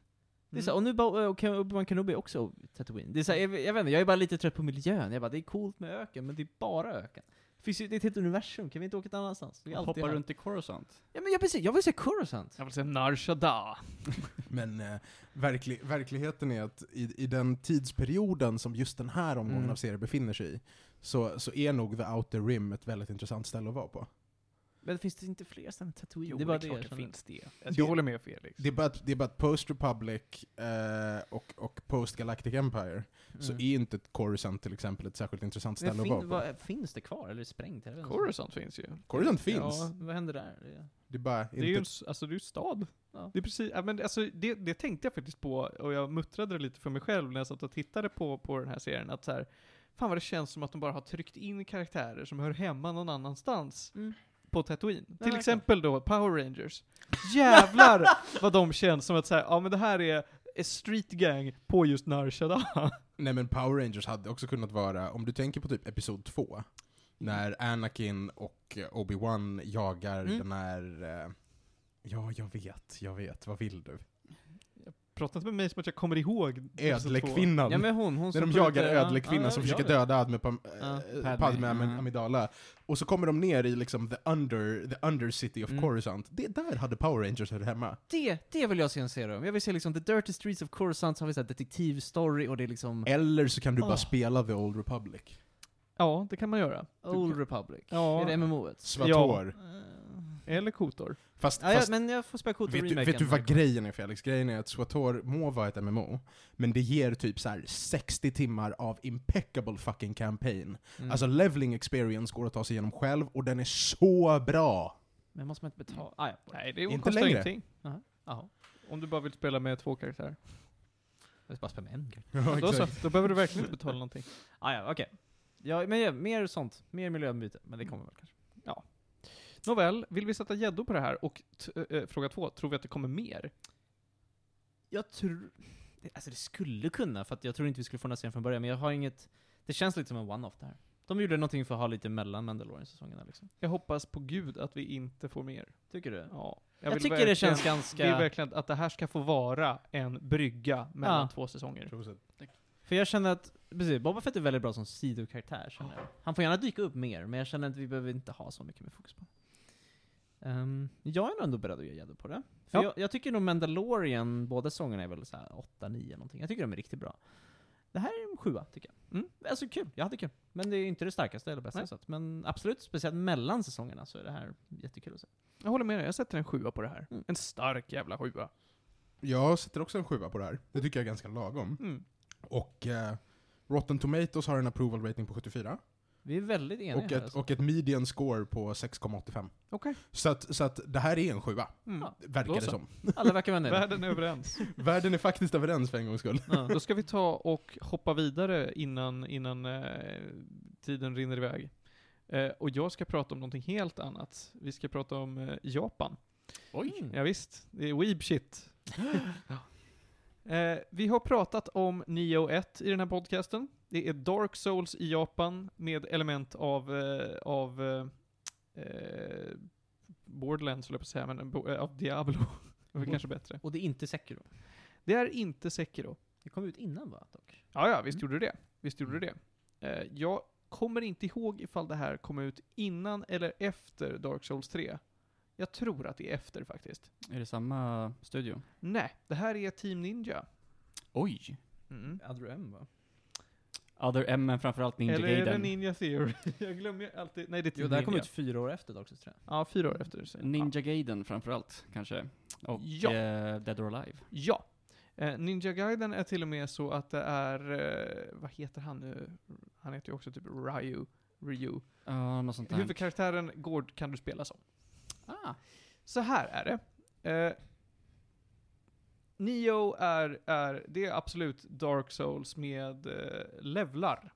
Det är Mm. så, här, och nu bara, och Ken- Obi-Wan Kenobi är också Tatooine. Det är så, här, jag, jag vet inte, jag är bara lite trött på miljön. Jag bara, det är coolt med öken, men det är bara öken. Det, finns ju, det är ett helt universum, kan vi inte åka till annanstans? Vi är alltid Hoppar här. runt i Coruscant. Ja men jag, precis, jag vill se Coruscant. Jag vill säga Narshada. Men eh, verkli, verkligheten är att i, i den tidsperioden som just den här omgången Mm. av serien befinner sig i, så, så är nog The Outer Rim ett väldigt intressant ställe att vara på. Men finns det inte fler ställen än Tatooine? Jo, det är bara det, klart jag det känner. finns det. Det- Jag håller med Felix. Det är bara att, det är bara att Post Republic eh, och, och Post Galactic Empire, så är Mm. inte Coruscant till exempel ett särskilt intressant Men ställe att fin- vara på. vad- finns det kvar, eller är det sprängt? Jag vet inte. Coruscant finns ju. Coruscant finns, Ja, vad händer där? Det- det är bara inte... Det är ju en, s- alltså det är ju stad. Ja. Det är precis, ja, men alltså det, det tänkte jag faktiskt på, och jag muttrade det lite för mig själv när jag satt och tittade på, på den här serien, att så här, fan vad det känns som att de bara har tryckt in karaktärer som hör hemma någon annanstans Mm. på Tatooine. Till verkligen. exempel då Power Rangers. Jävlar vad de känns som att så här, ja men det här är är street gang på just Narshada. Nej men Power Rangers hade också kunnat vara, om du tänker på typ Episod 2, Mm. när Anakin och eh, Obi-Wan jagar Mm. den här... Eh, ja, jag vet, jag vet, vad vill du? pratat med mig som att jag kommer ihåg episod två. Ödlekvinnan. Ja men hon, hon När de som jagar skjuter- ja, ödlekvinnan ja, som jag försöker vet. döda Adme Pam, Ja, eh, Padme, Mm. Padme Am- ja. Amidala. Och så kommer de ner i liksom the under, the undercity of Mm. Coruscant. Det där hade Power Rangers hört hemma. Det, det vill jag se en serie om. Jag vill se liksom The Dirty Streets of Coruscant, så har vi såhär detektivstory och det är liksom Eller så kan du bara Åh. spela The Old Republic. Ja, det kan man göra. Old Republic. Ja. Är det MMOet? Svator. Eller Kotor. Fast, Ja, ja, fast men jag får spä kvoten vet, du, vet du vad grejen är Felix? Grejen är att Swator må vara ett MMO, men det ger typ så här 60 timmar av impeccable fucking campaign. Mm. Alltså leveling experience går att ta sig igenom själv, och den är så bra! Men måste man inte betala? Ah, ja. Mm. Nej, det Inte kostar längre. ingenting. Jaha. Om du bara vill spela med två karaktärer. Jag ska bara spela med en grej. Ja, Då så, då behöver du verkligen inte betala någonting. Ah, ja, okej. Ja, men ja, mer sånt. Mer miljöombyte. Men det kommer väl kanske. Nåväl, vill vi sätta gäddor på det här? Och t- eh, fråga två, tror vi att det kommer mer? Jag tror... det- Alltså det skulle kunna, för att jag tror inte vi skulle få den här serien från början, men jag har inget... Det känns lite som en one-off det här. De gjorde någonting för att ha lite mellan Mandalorian-säsongerna liksom. Jag hoppas på gud att vi inte får mer. Tycker du? Ja. Jag, vill tycker det känns verkligen- ganska... vill verkligen att det här ska få vara en brygga mellan Ja. två säsonger. För jag känner att, precis, Boba Fett är väldigt bra som sidokaraktär känner jag. Han får gärna dyka upp mer, men jag känner att vi behöver inte ha så mycket mer fokus på um, Jag är nog ändå beredd att ge gäddor på det. För Ja. jag, jag tycker nog Mandalorian, båda säsongerna är väl så här 8-9 någonting. Jag tycker de är riktigt bra. Det här är en sjua, tycker jag. Mm. Alltså kul, jag hade kul. Men det är inte det starkaste eller bästa Nej. jag sett. Men absolut, speciellt mellan säsongerna så är det här jättekul att se. Jag håller med dig, jag sätter en sjua på det här. Mm. En stark jävla sjua. Jag sätter också en sjua på det här. Det tycker jag är ganska lagom. Mm. Och eh, Rotten Tomatoes har en approval rating på 74. Vi är väldigt eniga Och här, ett, alltså. och ett median score på 6,85. Okej. Så att, så att det här är en sjua, Mm. Ja. verkar Då det så. som. Alla verkar vara nöjda. Världen är överens. Världen är faktiskt överens för en gångs skull. Ja. Då ska vi ta och hoppa vidare innan, innan eh, tiden rinner iväg. Eh, och jag ska prata om någonting helt annat. Vi ska prata om eh, Japan. Oj! Mm. Ja, visst, det är weeb shit. eh, vi har pratat om Neo 1 i den här podcasten. Det är Dark Souls i Japan med element av, eh, av eh, eh, Borderlands, höll jag på att säga, men bo- eh, av Diablo. Det var Mm. kanske bättre. Och det är inte Sekiro. Det är inte Sekiro. Det kom ut innan va, dock? Ja, ja, Mm. visst gjorde det det. Visst gjorde det det. Eh, jag kommer inte ihåg ifall det här kom ut innan eller efter Dark Souls 3. Jag tror att det är efter faktiskt. Är det samma studio? Nej, det här är Team Ninja. Oj! Mm. Other M va? Other M, men framförallt Ninja Eller är det Gaiden. Ninja Theory? jag glömmer ju alltid. Nej, det är Team Jo, det här Ninja. kom ut fyra år efter Dark Souls 3. Ja, fyra år efter. Så. Ninja Gaiden framförallt, kanske. Och Ja. eh, Dead or Alive. Ja. Eh, Ninja Gaiden är till och med så att det är, eh, vad heter han nu? Han heter ju också typ Ryu. Ryu. Ja, något sånt där. Huvudkaraktären Gord kan du spela som. Ah. Så här är det. Eh, Neo är, är, det är absolut Dark Souls med eh, levlar.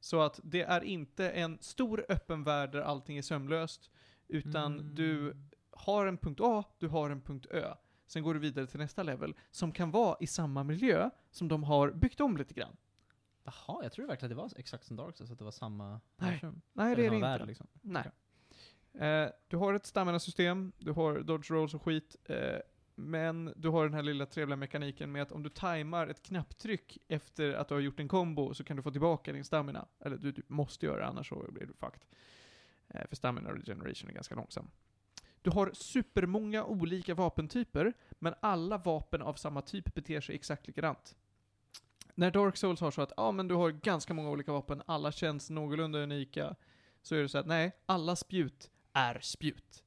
Så att det är inte en stor öppen värld där allting är sömlöst, utan Mm. du har en punkt A, du har en punkt Ö. Sen går du vidare till nästa level, som kan vara i samma miljö som de har byggt om lite grann. Jaha, jag tror verkligen att det var exakt som Dark Souls, att det var samma... Nej. universum. Nej, Eller det är det samma inte. värld, liksom. Nej. Eh, du har ett stamina-system, du har dodge rolls och skit, eh, men du har den här lilla trevliga mekaniken med att om du tajmar ett knapptryck efter att du har gjort en kombo så kan du få tillbaka din stamina. Eller du, du måste göra det, annars så blir du fucked. Eh, för stamina regeneration är ganska långsam. Du har supermånga olika vapentyper, men alla vapen av samma typ beter sig exakt likadant. När Dark Souls har så att ja, men du har ganska många olika vapen, alla känns någorlunda unika, så är det så att nej, alla spjut är spjut.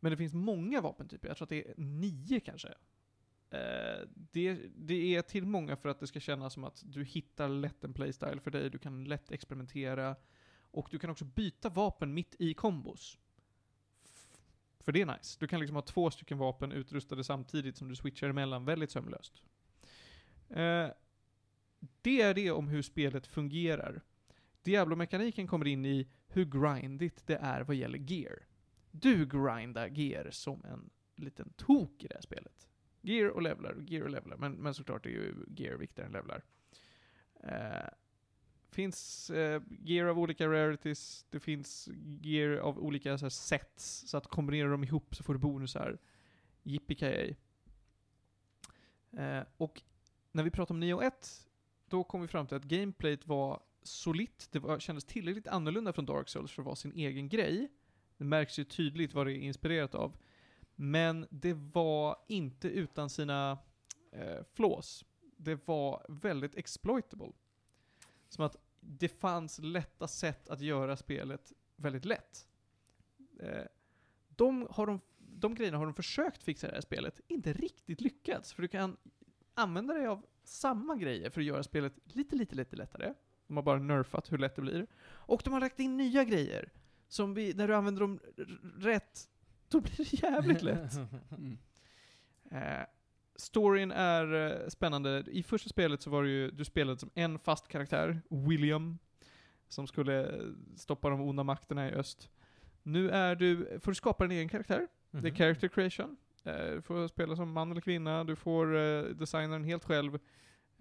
Men det finns många vapentyper, jag tror att det är nio kanske. Eh, det, det är till många för att det ska kännas som att du hittar lätt en playstyle för dig, du kan lätt experimentera och du kan också byta vapen mitt i kombos. F- För det är nice. Du kan liksom ha två stycken vapen utrustade samtidigt som du switchar emellan väldigt sömlöst. Eh, det är det om hur spelet fungerar. Diablo-mekaniken kommer in i hur grindigt det är vad gäller gear. Du grindar gear som en liten tok i det här spelet. Gear och levlar, och gear och levlar, men, men såklart är ju gear viktigare än levlar. Eh, finns eh, gear av olika rarities, det finns gear av olika så här, sets, så att kombinera dem ihop så får du bonusar. Yippee Eh, och när vi pratade om Neo 1, då kom vi fram till att gameplayet var solitt, det var, kändes tillräckligt annorlunda från Dark Souls för att vara sin egen grej. Det märks ju tydligt vad det är inspirerat av. Men det var inte utan sina eh, flaws. Det var väldigt exploitable. Som att det fanns lätta sätt att göra spelet väldigt lätt. Eh, de, har de, de grejerna har de försökt fixa i det här spelet, inte riktigt lyckats. För du kan använda dig av samma grejer för att göra spelet lite, lite, lite lättare. De har bara nerfat hur lätt det blir. Och de har lagt in nya grejer. Som vi, när du använder dem r- r- rätt, då blir det jävligt lätt. Mm. Eh, storyn är eh, spännande. I första spelet så var det ju, du spelade som en fast karaktär, William, som skulle eh, stoppa de onda makterna i öst. Nu är du, får du skapa din egen karaktär. Det är character creation. Eh, Du får spela som man eller kvinna, du får eh, designa den helt själv.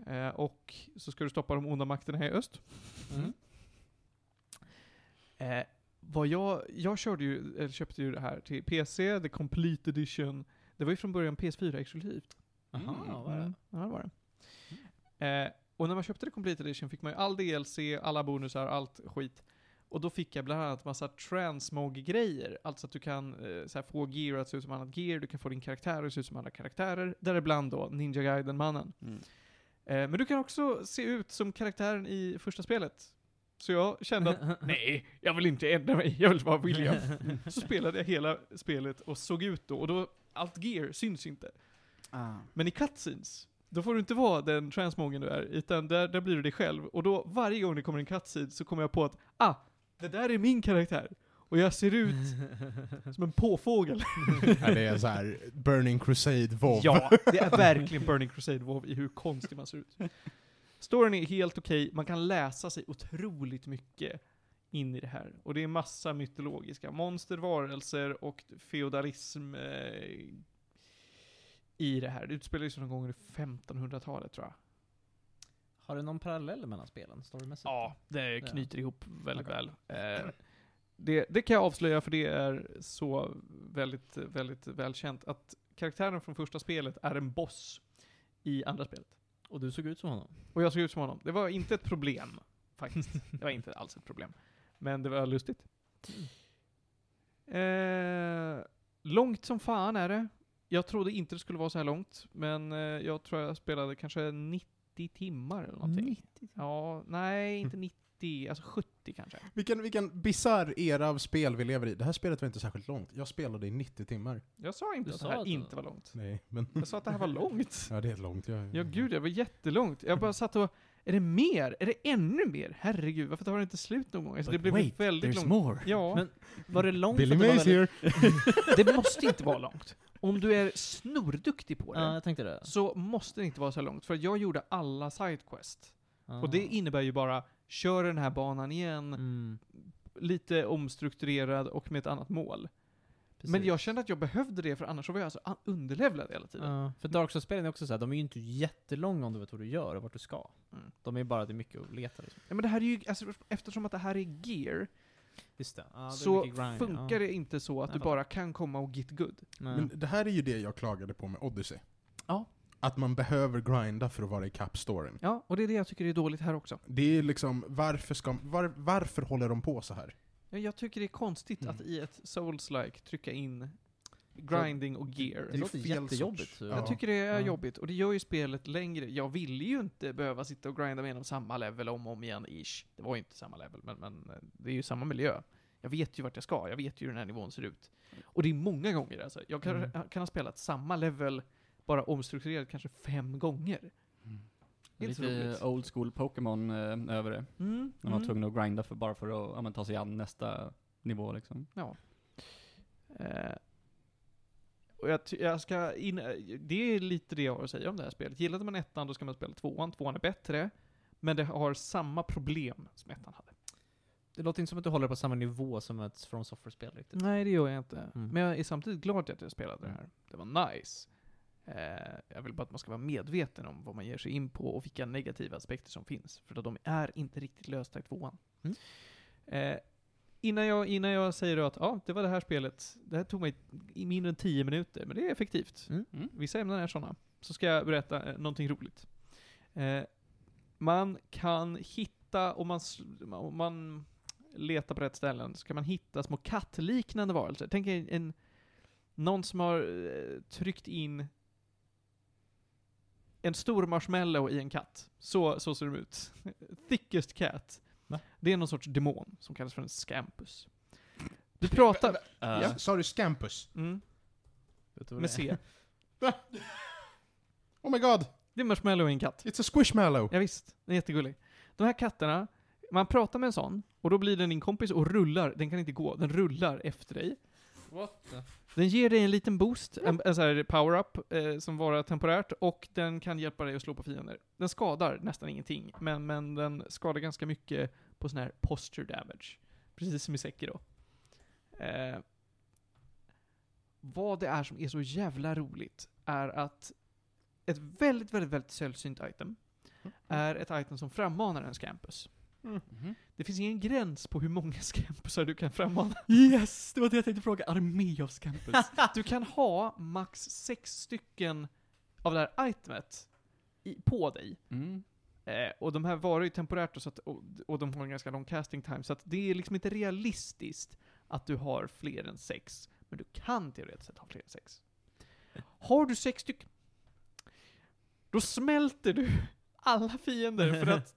Eh, Och så ska du stoppa de onda makterna i öst. Mm. Eh, vad jag, jag körde ju, eller köpte ju det här till PC, the complete edition. Det var ju från början PS4-exklusivt. Jaha, vad är det? Mm, ja, det var det. Eh, och när man köpte det Complete Edition fick man ju all DLC, alla bonusar, allt skit. Och då fick jag bland annat massa transmog-grejer. Alltså att du kan eh, så här, få gear att se ut som annat gear, du kan få din karaktär att se ut som andra karaktärer. Däribland då Ninja Gaiden-mannen. Mm. Eh, men du kan också se ut som karaktären i första spelet. Så jag kände att nej, jag vill inte ändra mig, jag vill vara William. Så spelade jag hela spelet och såg ut då, och då, allt gear syns inte. Men i cutscenes, då får du inte vara den transmogen du är, utan där, där blir du dig själv. Och då, varje gång det kommer en cutscene så kommer jag på att ah, det där är min karaktär. Och jag ser ut som en påfågel. Ja, det är så här Burning Crusade WoW. Ja, det är verkligen Burning Crusade WoW i hur konstig man ser ut. Storyn är helt okej, man kan läsa sig otroligt mycket in i det här. Och det är massa mytologiska monster, varelser och feodalism eh, i det här. Det utspelar sig någon gång i 1500-talet tror jag. Har du någon parallell mellan spelen, storymässigt? Ja, det Ja. knyter ihop väldigt Okej. väl. Eh, det, det kan jag avslöja för det är så väldigt, väldigt välkänt att karaktären från första spelet är en boss i andra spelet. Och du såg ut som honom? Och jag såg ut som honom. Det var inte ett problem, faktiskt. Det var inte alls ett problem. Men det var lustigt. Eh, långt som fan är det. Jag trodde inte det skulle vara så här långt, men eh, jag tror jag spelade kanske 90 timmar eller någonting. 90 Ja, nej, inte 90, alltså 70 kanske. Vilken, vilken bisarr era av spel vi lever i. Det här spelet var inte särskilt långt. Jag spelade i 90 timmar. Jag sa inte Du att sa det här att det inte var- var långt. Nej, men... Jag sa att det här var långt. Ja, det är långt. Jag, Ja, gud, det var jättelångt. Jag bara satt och... Är det mer? Är det ännu mer? Herregud, varför tar det inte slut någon gång? Alltså, det blev väldigt långt. more! Ja. Men Var det långt? Billy att det var Mays väldigt- here! Det måste inte vara långt. Om du är snorduktig på det, Ja, jag tänkte det. så måste det inte vara så här långt. För jag gjorde alla sidequest. Ah. Och det innebär ju bara, kör den här banan igen, Mm, lite omstrukturerad och med ett annat mål. precis. Men jag kände att jag behövde det, för annars så var jag så an- underlevlad hela tiden. Ja, för Dark Souls-spelen är också så här, de är ju inte jättelånga om du vet vad du gör och vart du ska. Mm. De är bara, det är mycket att leta liksom. Ja, men det här är ju, alltså, eftersom att det här är gear, Just det. Ja, det är så mycket grind, funkar det inte så Jag att du fattar. bara kan komma och get good. Ja. Men det här är ju det jag klagade på med Odyssey. Ja. Att man behöver grinda för att vara i kapp storyn. Ja, och det är det jag tycker är dåligt här också. Det är liksom, varför, ska, var, varför håller de på så här? Ja, Jag tycker det är konstigt Mm. att i ett souls-like trycka in grinding och gear. Det låter är fel jättejobbigt. sorts- Jag Ja. Jag tycker det är Ja. jobbigt, och det gör ju spelet längre. Jag ville ju inte behöva sitta och grinda mig igenom samma level om och om igen, ish. Det var ju inte samma level, men, men eh, det är ju samma miljö. Jag vet ju vart jag ska, jag vet ju hur den här nivån ser ut. Och det är många gånger alltså. Jag kan, Mm. kan ha spelat samma level, bara omstrukturerat kanske fem gånger. Det är inte så roligt. Lite old school Pokémon eh, över det. Mm, När man var tvungen att grinda för, bara för att ja, men, ta sig an nästa nivå liksom. Eh, och jag, ty- jag ska in, eh, det är lite det jag har att säga om det här spelet. Gillade man ettan då ska man spela tvåan, tvåan är bättre. Men det har samma problem som ettan hade. Det låter inte som att du håller på samma nivå som ett From Software-spel riktigt. Nej, det gör jag inte. Mm. Men jag är samtidigt glad att jag spelade det här. Det var nice. Eh, jag vill bara att man ska vara medveten om vad man ger sig in på och vilka negativa aspekter som finns. För att de är inte riktigt lösta i tvåan. Mm. Eh, innan, jag, innan jag säger då att ja, det var det här spelet. Det här tog mig i mindre än 10 minuter, men det är effektivt. Mm. Mm. Vissa ämnen är sådana. så ska jag berätta eh, någonting roligt. Eh, man kan hitta, om man, s- om man letar på rätt ställen, så kan man hitta små kattliknande varelser. Tänk er en, någon som har eh, tryckt in en stor marshmallow i en katt. Så, så ser de ut. Thickest cat. Va? Det är någon sorts demon som kallas för en scampus. Du pratar... Ja. Sa du scampus? Mm, Vet du vad med det är? C. Oh my god, Det är marshmallow i en katt. it's a squishmallow! Ja, visst, den är jättegullig. De här katterna, man pratar med en sån, och då blir den din kompis och rullar, den kan inte gå, den rullar efter dig. What the f- Den ger dig en liten boost, en, en sån här power-up, eh, som varar temporärt, och den kan hjälpa dig att slå på fiender. Den skadar nästan ingenting, men, men den skadar ganska mycket på sån här posture damage. Precis som i Säcker då. Eh, vad det är som är så jävla roligt är att ett väldigt, väldigt, väldigt sällsynt item är ett item som frammanar en scampus. Mhm. Det finns ingen gräns på hur många scampusar du kan frammana. Yes! Det var det jag tänkte fråga. Armé av Scampus. Du kan ha max sex stycken av det här itemet i, på dig. mm. Eh, och de här varar ju temporärt och, så att, och, och de har en ganska lång casting time, så att det är liksom inte realistiskt att du har fler än sex. Men du kan teoretiskt sett ha fler än sex. Har du sex stycken, då smälter du alla fiender för att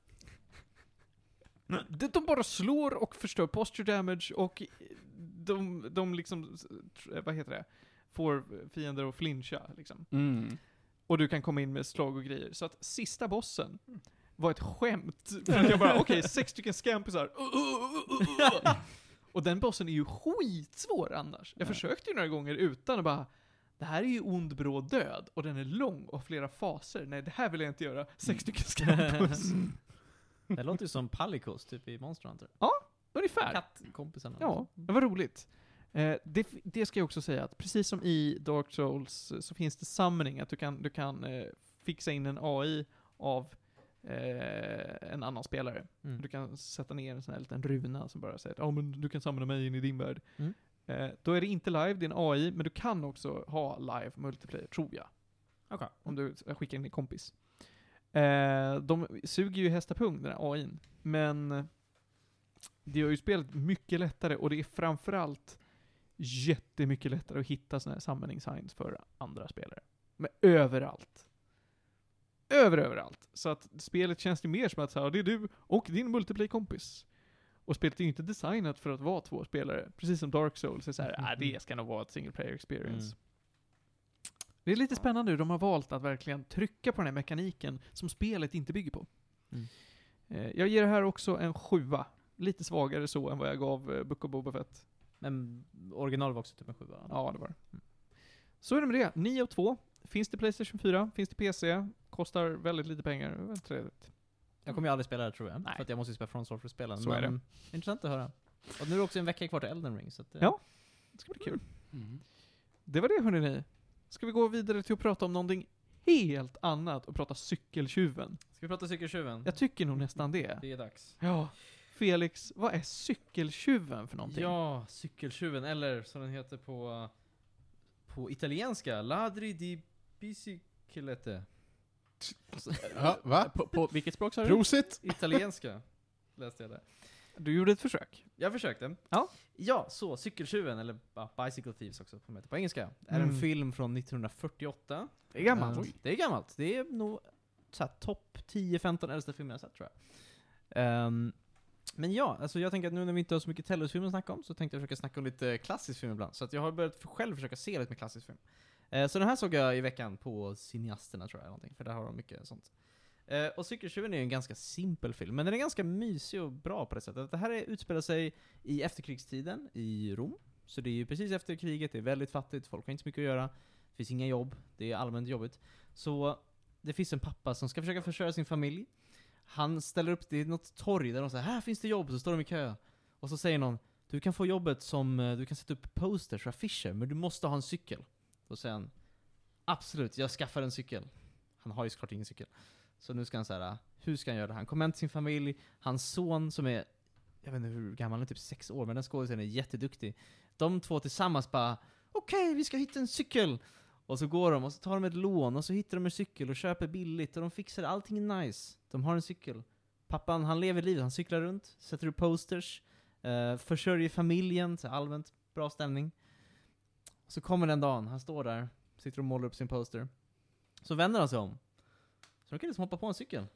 de de bara slår och förstör posture damage och de, de liksom, eh, vad heter det, får fiender att flincha liksom. Mm. Och du kan komma in med slag och grejer. Så att sista bossen var ett skämt. För att jag bara, okej, sex stycken scampisar. Uh, uh, uh, uh, uh. Och den bossen är ju skitsvår annars. Jag Ja. försökte ju några gånger utan och bara, det här är ju ond, bråd död. Och den är lång och har flera faser. Nej, det här vill jag inte göra. Sex stycken scampus. Det låter ju som Palikos, typ i Monster Hunter. Ungefär. Kattkompisarna. Ja, det var roligt. Eh, det, det ska jag också säga att precis som i Dark Souls eh, så finns det summoning, att du kan, du kan eh, fixa in en AI av eh, en annan spelare. Mm. Du kan sätta ner en sån här liten runa som bara säger att "Ja, men du kan samla mig in i din värld. Mm. Eh, då är det inte live, det är en AI, men du kan också ha live multiplayer, tror jag. Okej. Om du skickar in din kompis. Eh, de suger ju hästapung, den här AIn. Men det gör ju spelet mycket lättare och det är framförallt jättemycket lättare att hitta såna här summoning signs för andra spelare. Men överallt. Över överallt. Så att spelet känns ju mer som att så här, det är du och din multiplay-kompis. Och spelet är ju inte designat för att vara två spelare. Precis som Dark Souls är så här, ah, det ska nog vara ett single player experience. Mm. Det är lite spännande hur de har valt att verkligen trycka på den här mekaniken som spelet inte bygger på. Mm. Eh, Jag ger det här också en sjua. Lite svagare så än vad jag gav eh, Book of Boba Fett. Men original var också typ en sjua. Ja, det var det. Så är det med det. 9 av 2. Finns det Playstation 4? Finns det PC? Kostar väldigt lite pengar. Det är väldigt trevligt. Jag kommer ju aldrig spela det tror jag, Nej. för att jag måste ju spela From Software-spelen. Så är men- Intressant att höra. Och nu är det också en vecka kvar till Elden Ring, så att, eh, Ja. Det ska bli kul. Mm. Det var det hörni. Ska vi gå vidare till att prata om någonting helt annat och prata cykeltjuven? Ska vi prata cykeltjuven? Jag tycker nog nästan det. Det är dags. Ja. Felix, vad är cykeltjuven för någonting? Ja, cykeltjuven, eller som den heter på, på italienska, Ladri di Biciclette. Ja, va? På, på vilket språk sa du? Prosit! Italienska, läste jag där. Du gjorde ett försök. Jag försökte. Ja. Ja, så Cykeltjuven, eller ja, Bicycle Thieves också som heter på engelska, är en Mm. film från 1948. Det är gammalt. Eh, det är gammalt. Det är nog så här topp 10-15 äldsta filmer jag sett tror jag. Ehm, men ja, alltså jag tänker att nu när vi inte har så mycket Tellus-filmer att snacka om så tänkte jag försöka snacka om lite klassisk film ibland. Så att jag har börjat för- själv försöka se lite mer klassisk film. Eh, så den här såg jag i veckan på Cineasterna tror jag, eller någonting, för där har de mycket sånt. Eh, och Cykeltjuven är ju en ganska simpel film, men den är ganska mysig och bra på det sättet. Det här är, utspelar sig i efterkrigstiden i Rom. Så det är ju precis efter kriget, det är väldigt fattigt, folk har inte så mycket att göra. Det finns inga jobb, det är allmänt jobbigt. Så det finns en pappa som ska försöka försörja sin familj. Han ställer upp, det är något torg där de säger här finns det jobb, så står de i kö. Och så säger någon, du kan få jobbet som, eh, du kan sätta upp posters och affischer, men du måste ha en cykel. Då säger han, absolut, jag skaffar en cykel. Han har ju såklart ingen cykel. Så nu ska han så här, hur ska han göra det? Han kommer hem till sin familj, hans son som är, jag vet inte hur gammal han är, typ sex år, men den skådisen är jätteduktig. De två tillsammans bara, okej vi ska hitta en cykel! Och så går de och så tar de ett lån och så hittar de en cykel och köper billigt och de fixar allting nice. De har en cykel. Pappan, han lever livet. Han cyklar runt, sätter upp posters, eh, försörjer familjen, så allmänt bra stämning. Så kommer den dagen, han står där, sitter och målar upp sin poster. Så vänder han sig om. Så de kan liksom hoppa på en cykel.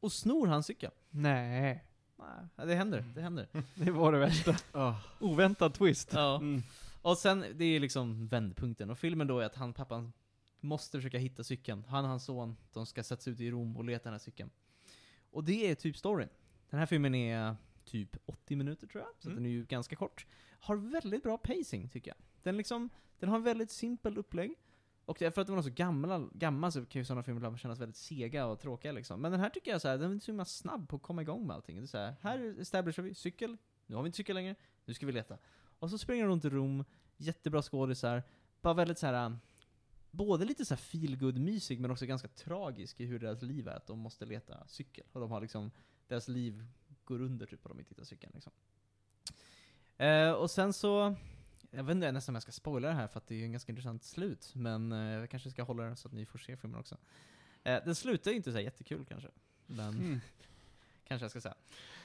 Och snor hans cykel. Nej, Ah. Nej, det händer, det händer. det var det värsta. Oväntad twist. Ja. Mm. Och sen, det är liksom vändpunkten. Och filmen då är att han, pappan, måste försöka hitta cykeln. Han och hans son, de ska sättas ut i Rom och leta den här cykeln. Och det är typ storyn. Den här filmen är typ 80 minuter tror jag, så Mm. den är ju ganska kort. Har väldigt bra pacing tycker jag. Den liksom, den har en väldigt simpel upplägg. Och det är för att den var så gammal, gammal så kan ju sådana filmer ibland kännas väldigt sega och tråkiga liksom. Men den här tycker jag så här, den är så himla snabb på att komma igång med allting. Det är så här, här establishar vi cykel, nu har vi inte cykel längre, nu ska vi leta. Och så springer de runt i Rom, jättebra skådisar. Bara väldigt så här. äh, både lite så här feel good mysig men också ganska tragisk i hur deras liv är. Att de måste leta cykel. Och de har liksom, deras liv går under typ om de inte hittar cykeln liksom. Eh, och sen så, jag vet inte nästan om jag ska spoila det här för att det är ju en ganska intressant slut. Men eh, jag kanske ska hålla den så att ni får se filmen också. Eh, den slutar ju inte så här jättekul kanske. Men, Hmm. Mm. kanske jag ska säga.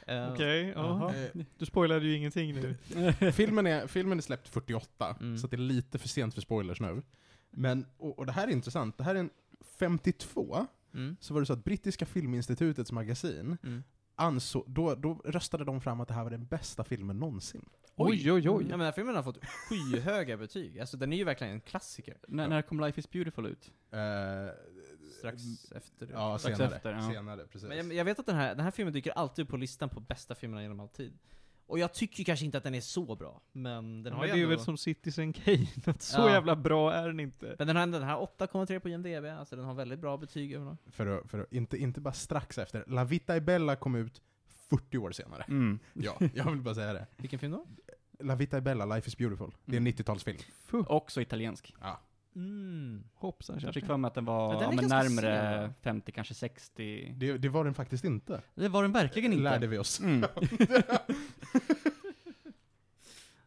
Eh, Okej, Jaha. ja. Du spoilade ju ingenting nu. Eh, filmen, är, filmen är släppt 48, Mm. så att det är lite för sent för spoilers nu. Men, och, och det här är intressant, det här är en 52, Mm, så var det så att Brittiska Filminstitutets magasin, mm. ansåg, då, då röstade de fram att det här var den bästa filmen någonsin. Oj, oj, Ja, men den här filmen har fått skyhöga betyg. Alltså den är ju verkligen en klassiker. När, när kom Life is beautiful ut? Eh, Strax Mm. efter det. ja, strax senare. Typ. efter, ja. senare precis. Men jag, jag vet att den här, den här filmen dyker alltid upp på listan på bästa filmerna genom all tid. Och jag tycker ju kanske inte att den är så bra, men den har men det ju är ändå... väl som Citizen Kane, att så Ja. jävla bra är den inte. Men den har ändå den här 8,3 på IMDB, alltså den har väldigt bra betyg överlag. För att, för att inte, inte bara strax efter, La Vita e Bella kom ut 40 år senare. Mm. Ja, jag vill bara säga det. Vilken film då? La Vita e Bella, Life is beautiful. Det är en Mm. 90-talsfilm. Fuh. Också italiensk. Mm. Hoppsan Jag fick Kerstin. för mig att den Ja, var ja, den är men ganska närmare sen. 50, kanske 60. Det, det var den faktiskt inte. Det var den verkligen inte. Lärde vi oss. Mm.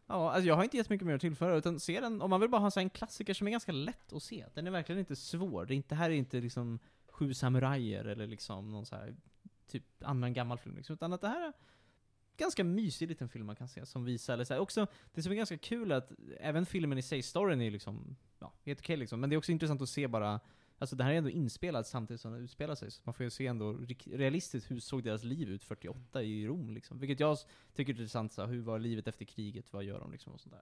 Ja, alltså jag har inte jättemycket mer att tillföra, utan se den, om man vill bara ha en sån här klassiker som är ganska lätt att se. Den är verkligen inte svår. Det är inte, här är inte liksom Sju samurajer eller liksom någon så här typ annan gammal film liksom, utan att det här är en ganska mysig liten film man kan se som visar, eller så här, också, det som är ganska kul är att även filmen i sig, storyn är liksom, ja, helt okej liksom, men det är också intressant att se bara Alltså det här är ändå inspelat samtidigt som den utspelar sig, så man får ju se ändå rik- realistiskt hur såg deras liv ut 48 i Rom liksom. Vilket jag s- tycker är intressant, så här, hur var livet efter kriget, vad gör de liksom och sånt där.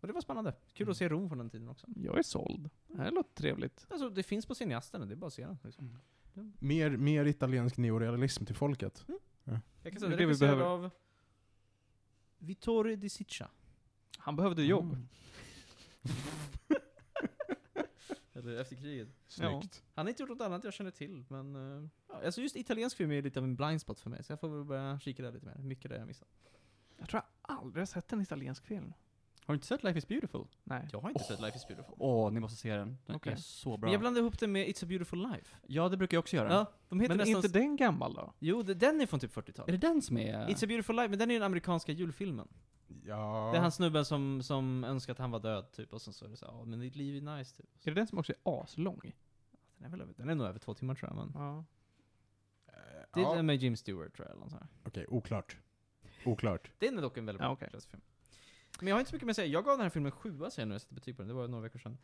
Och det var spännande. Kul att se Rom från den tiden också. Jag är såld. Det här låter trevligt. Alltså det finns på cineasterna, det är bara att se den. Liksom. Mer, mer italiensk neorealism till folket. Jag kan säga Mm. Det är det det vi regisserad behöver. av Vittorio Di Sicca. Han behövde jobb. Eller efter kriget. Snyggt. Han har inte gjort något annat jag känner till, men... eh, ja, alltså just italiensk film är lite av en blind spot för mig, så jag får väl börja kika där lite mer. Mycket där jag missat. Jag tror jag aldrig har sett en italiensk film. Har du inte sett Life is beautiful? Nej. Jag har inte sett Life is beautiful. Åh, ni måste se den. Den Okej. är så bra. Men jag blandade ihop den med It's a beautiful life. Ja, det brukar jag också göra. Ja, de heter Men är nästan... inte den gammal då? Jo, det- den är från typ Är 40-talet. det den som är... It's a beautiful life, men den är ju den amerikanska julfilmen. Ja. Det är han snubben som, som önskar att han var död, typ, och sen så är det så här, "Ja, men ditt liv är nice, typ. Är det den som också är aslång? Den är, väl över, den är nog över två timmar tror jag, men... Ja. Eh, Det är ja. den med Jim Stewart tror jag, eller nåt sånt här. Okej, oklart. Oklart. Det är dock en väldigt bra Ja, okej. klassisk film. Men jag har inte så mycket mer att säga. Jag gav den här filmen en sjua sen när jag satte betyg på den. Det var några veckor sedan.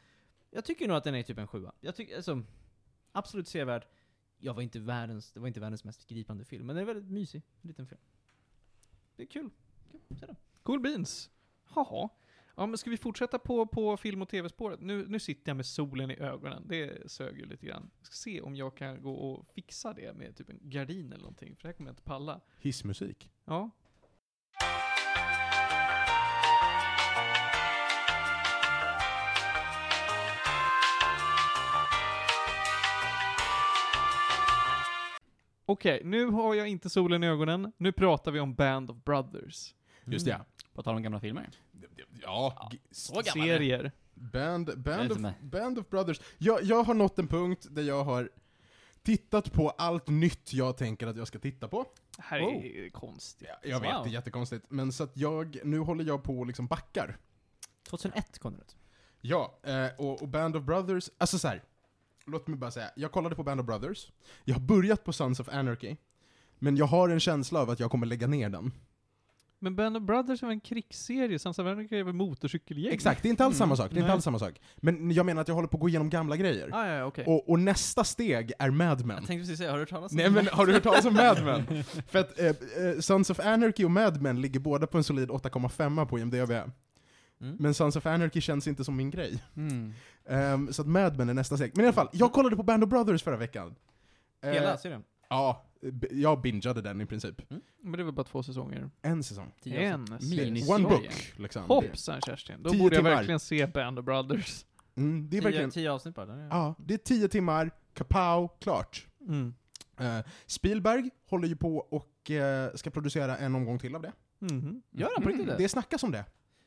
Jag tycker nog att den är typ en sjua. Jag tycker, alltså, absolut sevärd. Jag var inte världens, det var inte världens mest gripande film, men den är väldigt mysig. Liten film. Det är kul. Kul. Se den. Cool beans. Haha. Ja, men ska vi fortsätta på, på film och tv-spåret? Nu, nu sitter jag med solen i ögonen. Det sög ju lite grann. Jag ska se om jag kan gå och fixa det med typ en gardin eller någonting, för det här kommer jag inte palla. Hissmusik. Ja. Okej, nu har jag inte solen i ögonen. Nu pratar vi om Band of Brothers. Just Mm. det, På tal om gamla filmer. ja. Ja, g- Så Serier. Band, Jag är band, of, inte med. band of Brothers. Jag, jag har nått en punkt där jag har tittat på allt nytt jag tänker att jag ska titta på. Det här är konstigt. Ja, Jag vet, Wow. det är jättekonstigt. Men så att jag, nu håller jag på och liksom backar. 2001 kom den ut. Ja, eh, och, och Band of Brothers, alltså så här. låt mig bara säga, jag kollade på Band of Brothers, jag har börjat på Sons of Anarchy, men jag har en känsla av att jag kommer lägga ner den. Men Band of Brothers var en krigsserie, Sons of Anarchy är väl motorcykelgäng? Exakt, det är inte alls Mm. samma sak, det är inte Nej. alls samma sak. Men jag menar att jag håller på att gå igenom gamla grejer. Ah, ja, ja, okej. Och, och nästa steg är Mad Jag alltså- Men. tänkte precis säga, har du hört talas om Nej men har du hört talas om Mad Men? För att eh, eh, Sons of Anarchy och Mad Men ligger båda på en solid 8,5 på IMDB. Mm. Men Sons of Anarchy känns inte som min grej. Mm. Ehm, så att Mad Men är nästa steg. Men i alla fall, jag kollade på Band of Brothers förra veckan. Eh, Hela serien? Ja, b- jag bingeade den i princip. Men det var bara två säsonger. En säsong. Tio avsnitt. En Miniserie. One book, liksom. Hoppsan Kerstin, då Tio borde jag timmar. verkligen se Band of Brothers. Mm, det är Tio, verkligen... tio avsnitt bara? där är- Ja, det är tio timmar, kapow, klart. Mm. Eh, Spielberg håller ju på och eh, ska producera en omgång till av det. Mm. Mhm. Gör han på riktigt det? Det snackas om det.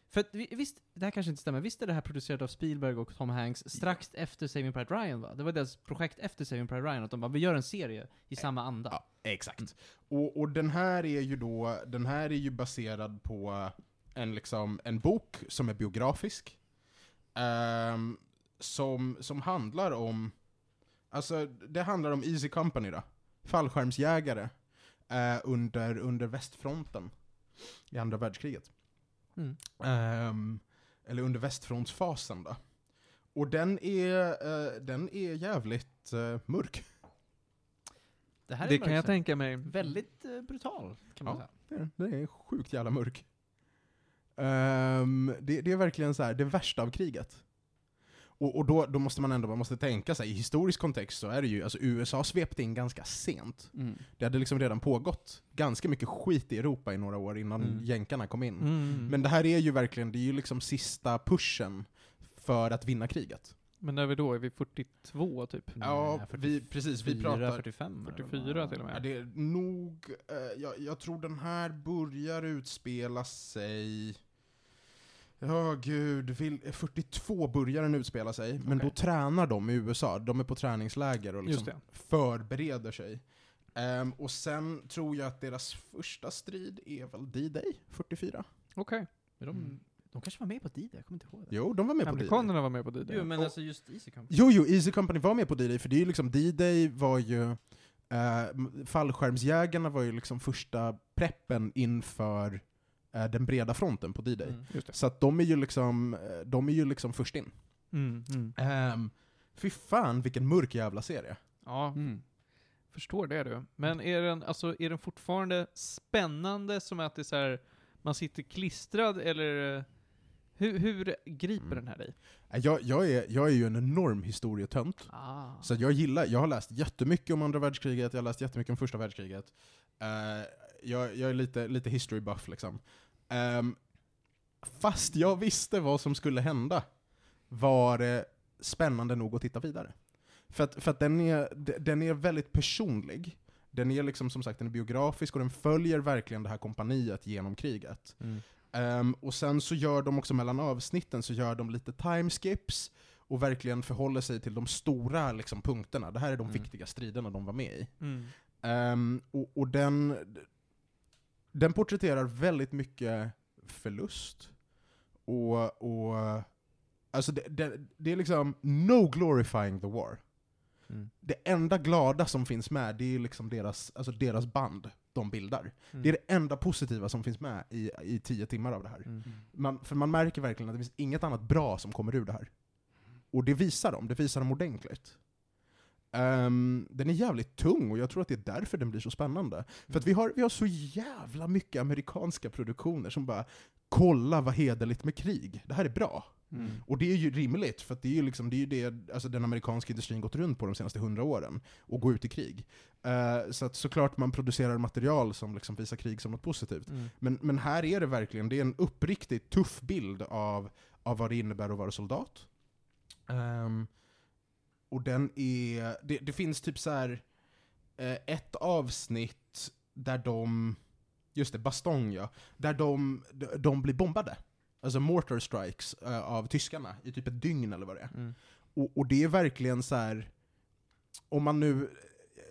För att, vi- visst, det här kanske inte stämmer, visst är det här producerat av Spielberg och Tom Hanks strax efter Saving Private Ryan va? Det var deras projekt efter Saving Private Ryan, att de bara vi gör en serie i samma anda. Ja, exakt. Och, och den här är ju då, den här är ju baserad på en, liksom, en bok som är biografisk. ehm, som, som handlar om, alltså det handlar om Easy Company då. Fallskärmsjägare eh, under, under västfronten i andra världskriget. Mm. Ehm, eller under västfrontsfasen då. Och den är, eh, den är jävligt eh, mörk. Det här är Det kan jag mörkt. tänka mig. Väldigt eh, brutal, kan man Ja. säga. Det är, den är sjukt jävla mörk. Ehm, det, det är verkligen så här, det värsta av kriget. Och, och då, då måste man ändå man måste tänka sig i historisk kontext så är det ju, alltså USA svepte in ganska sent. Mm. Det hade liksom redan pågått ganska mycket skit i Europa i några år innan Mm. jänkarna kom in. Mm. Men, Men det här är ju verkligen, det är ju liksom sista pushen för att vinna kriget. när vi då är vi 42 typ? Ja, vi, precis, vi pratar... 45 44 till och Ja, med. det är nog, eh, jag, jag tror den här börjar utspela sig... Ja, gud. Vill, 42 börjar den utspela sig, men Okej. då tränar de i USA. De är på träningsläger och Just liksom det. förbereder sig. Ehm, och sen tror jag att deras första strid är väl D-Day 44? Okej. Men Mm. de, de kanske var med på Didi, jag kommer inte ihåg det. Jo, de var med på D-Day. Amerikanerna var med på Oh, det. Jo men Och- alltså just Easy Company. Jo, jo, Easy Company var med på D-Day, för det är ju liksom, D-Day var ju, eh, m- fallskärmsjägarna var ju liksom första preppen inför eh, den breda fronten på D-Day. Mm. Just det. Så att de är ju liksom, eh, de är ju liksom först in. Mm, mm. Um, fy fan vilken mörk jävla serie. Ja, Mm. förstår det du. Men är den, alltså, är den fortfarande spännande som att det är så här, man sitter klistrad eller eh, hur, hur griper Mm. den här dig? Eh, Jag, jag, är, jag är ju en enorm historietönt. Ah. Så att jag gillar, jag har läst jättemycket om andra världskriget, jag har läst jättemycket om första världskriget. Eh, jag, jag är lite, lite history buff liksom. Ehm, fast jag visste vad som skulle hända var det spännande nog att titta vidare. För att, för att den, är, de- den är väldigt personlig. Den är liksom som sagt den är biografisk och den följer verkligen det här kompaniet genom kriget. Mm. Ehm, och sen så gör de också mellan avsnitten så gör de lite timeskips och verkligen förhåller sig till de stora liksom, punkterna. Det här är de Mm. viktiga striderna de var med i. Mm. Ehm, och och den, den porträtterar väldigt mycket förlust. Och, och alltså det, det, det är liksom no glorifying the war. Mm. Det enda glada som finns med, det är liksom deras, alltså deras band de bildar. Det är det enda positiva som finns med i, i tio timmar av det här. Mm. Man, för man märker verkligen att det finns inget annat bra som kommer ur det här. Och det visar de, det visar de ordentligt. Ehm, den är jävligt tung och jag tror att det är därför den blir så spännande. För att vi har, vi har så jävla mycket amerikanska produktioner som bara Kolla vad hederligt med krig, det här är bra. Mm. Och det är ju rimligt, för att det är ju liksom, det, är ju det alltså den amerikanska industrin gått runt på de senaste hundra åren, och gå ut i krig. Eh, så att såklart man producerar material som liksom visar krig som något positivt. Mm. Men, men här är det verkligen, det är en uppriktigt tuff bild av, av vad det innebär att vara soldat. Ehm, och den är, det, det finns typ så här eh, ett avsnitt där de, just det, Bastong ja, där de, de, de blir bombade. Alltså mortar strikes eh, av tyskarna i typ ett dygn eller vad det är. Mm. Och, och det är verkligen så här. om man nu,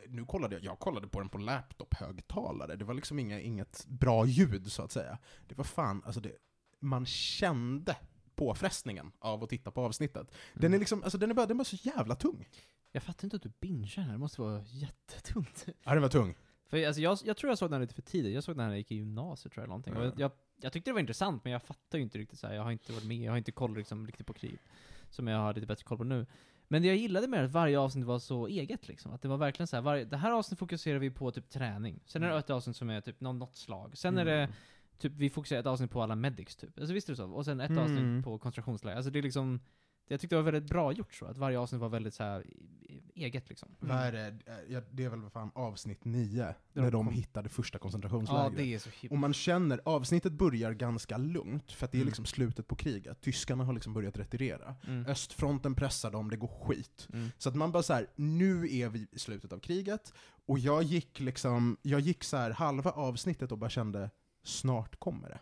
nu kollade jag, jag kollade på den på laptop-högtalare, det var liksom inga, inget bra ljud så att säga. Det var fan, alltså det, man kände på påfrestningen av att titta på avsnittet. Den är liksom, alltså den är bara, den är bara så jävla tung. Jag fattar inte att du bingear den här, det måste vara jättetungt. Ja, den var tung. För jag- alltså, jag, jag tror jag såg den här lite för tidigt, jag såg den här när jag gick i gymnasiet tror jag, eller någonting. Och Ja. jag, jag, jag tyckte det var intressant, men jag fattar ju inte riktigt så här. jag har inte varit med, jag har inte koll liksom, riktigt på kriget. Som jag har lite bättre koll på nu. Men det jag gillade med det är att varje avsnitt var så eget liksom. Att det var verkligen så här, varje, det här avsnittet fokuserar vi på typ träning. Sen Mm. är det ett avsnitt som är typ någon, något slag. Sen är det typ, vi fokuserar ett avsnitt på alla medics typ. Alltså visst är det så? Och sen ett Mm. avsnitt på koncentrationsläger. Alltså det är liksom, jag tyckte det var väldigt bra gjort så. Att varje avsnitt var väldigt så här e- eget liksom. Vad är det? Ja, det är väl vad fan avsnitt nio, Där när de de kom. hittade första Ja, koncentrationslägret. det är så himla... Och man känner, avsnittet börjar ganska lugnt, för att det är Mm. liksom slutet på kriget. Tyskarna har liksom börjat retirera. Mm. Östfronten pressar dem, det går skit. Mm. Så att man bara så här, nu är vi i slutet av kriget. Och jag gick liksom, jag gick så här halva avsnittet och bara kände, snart kommer det.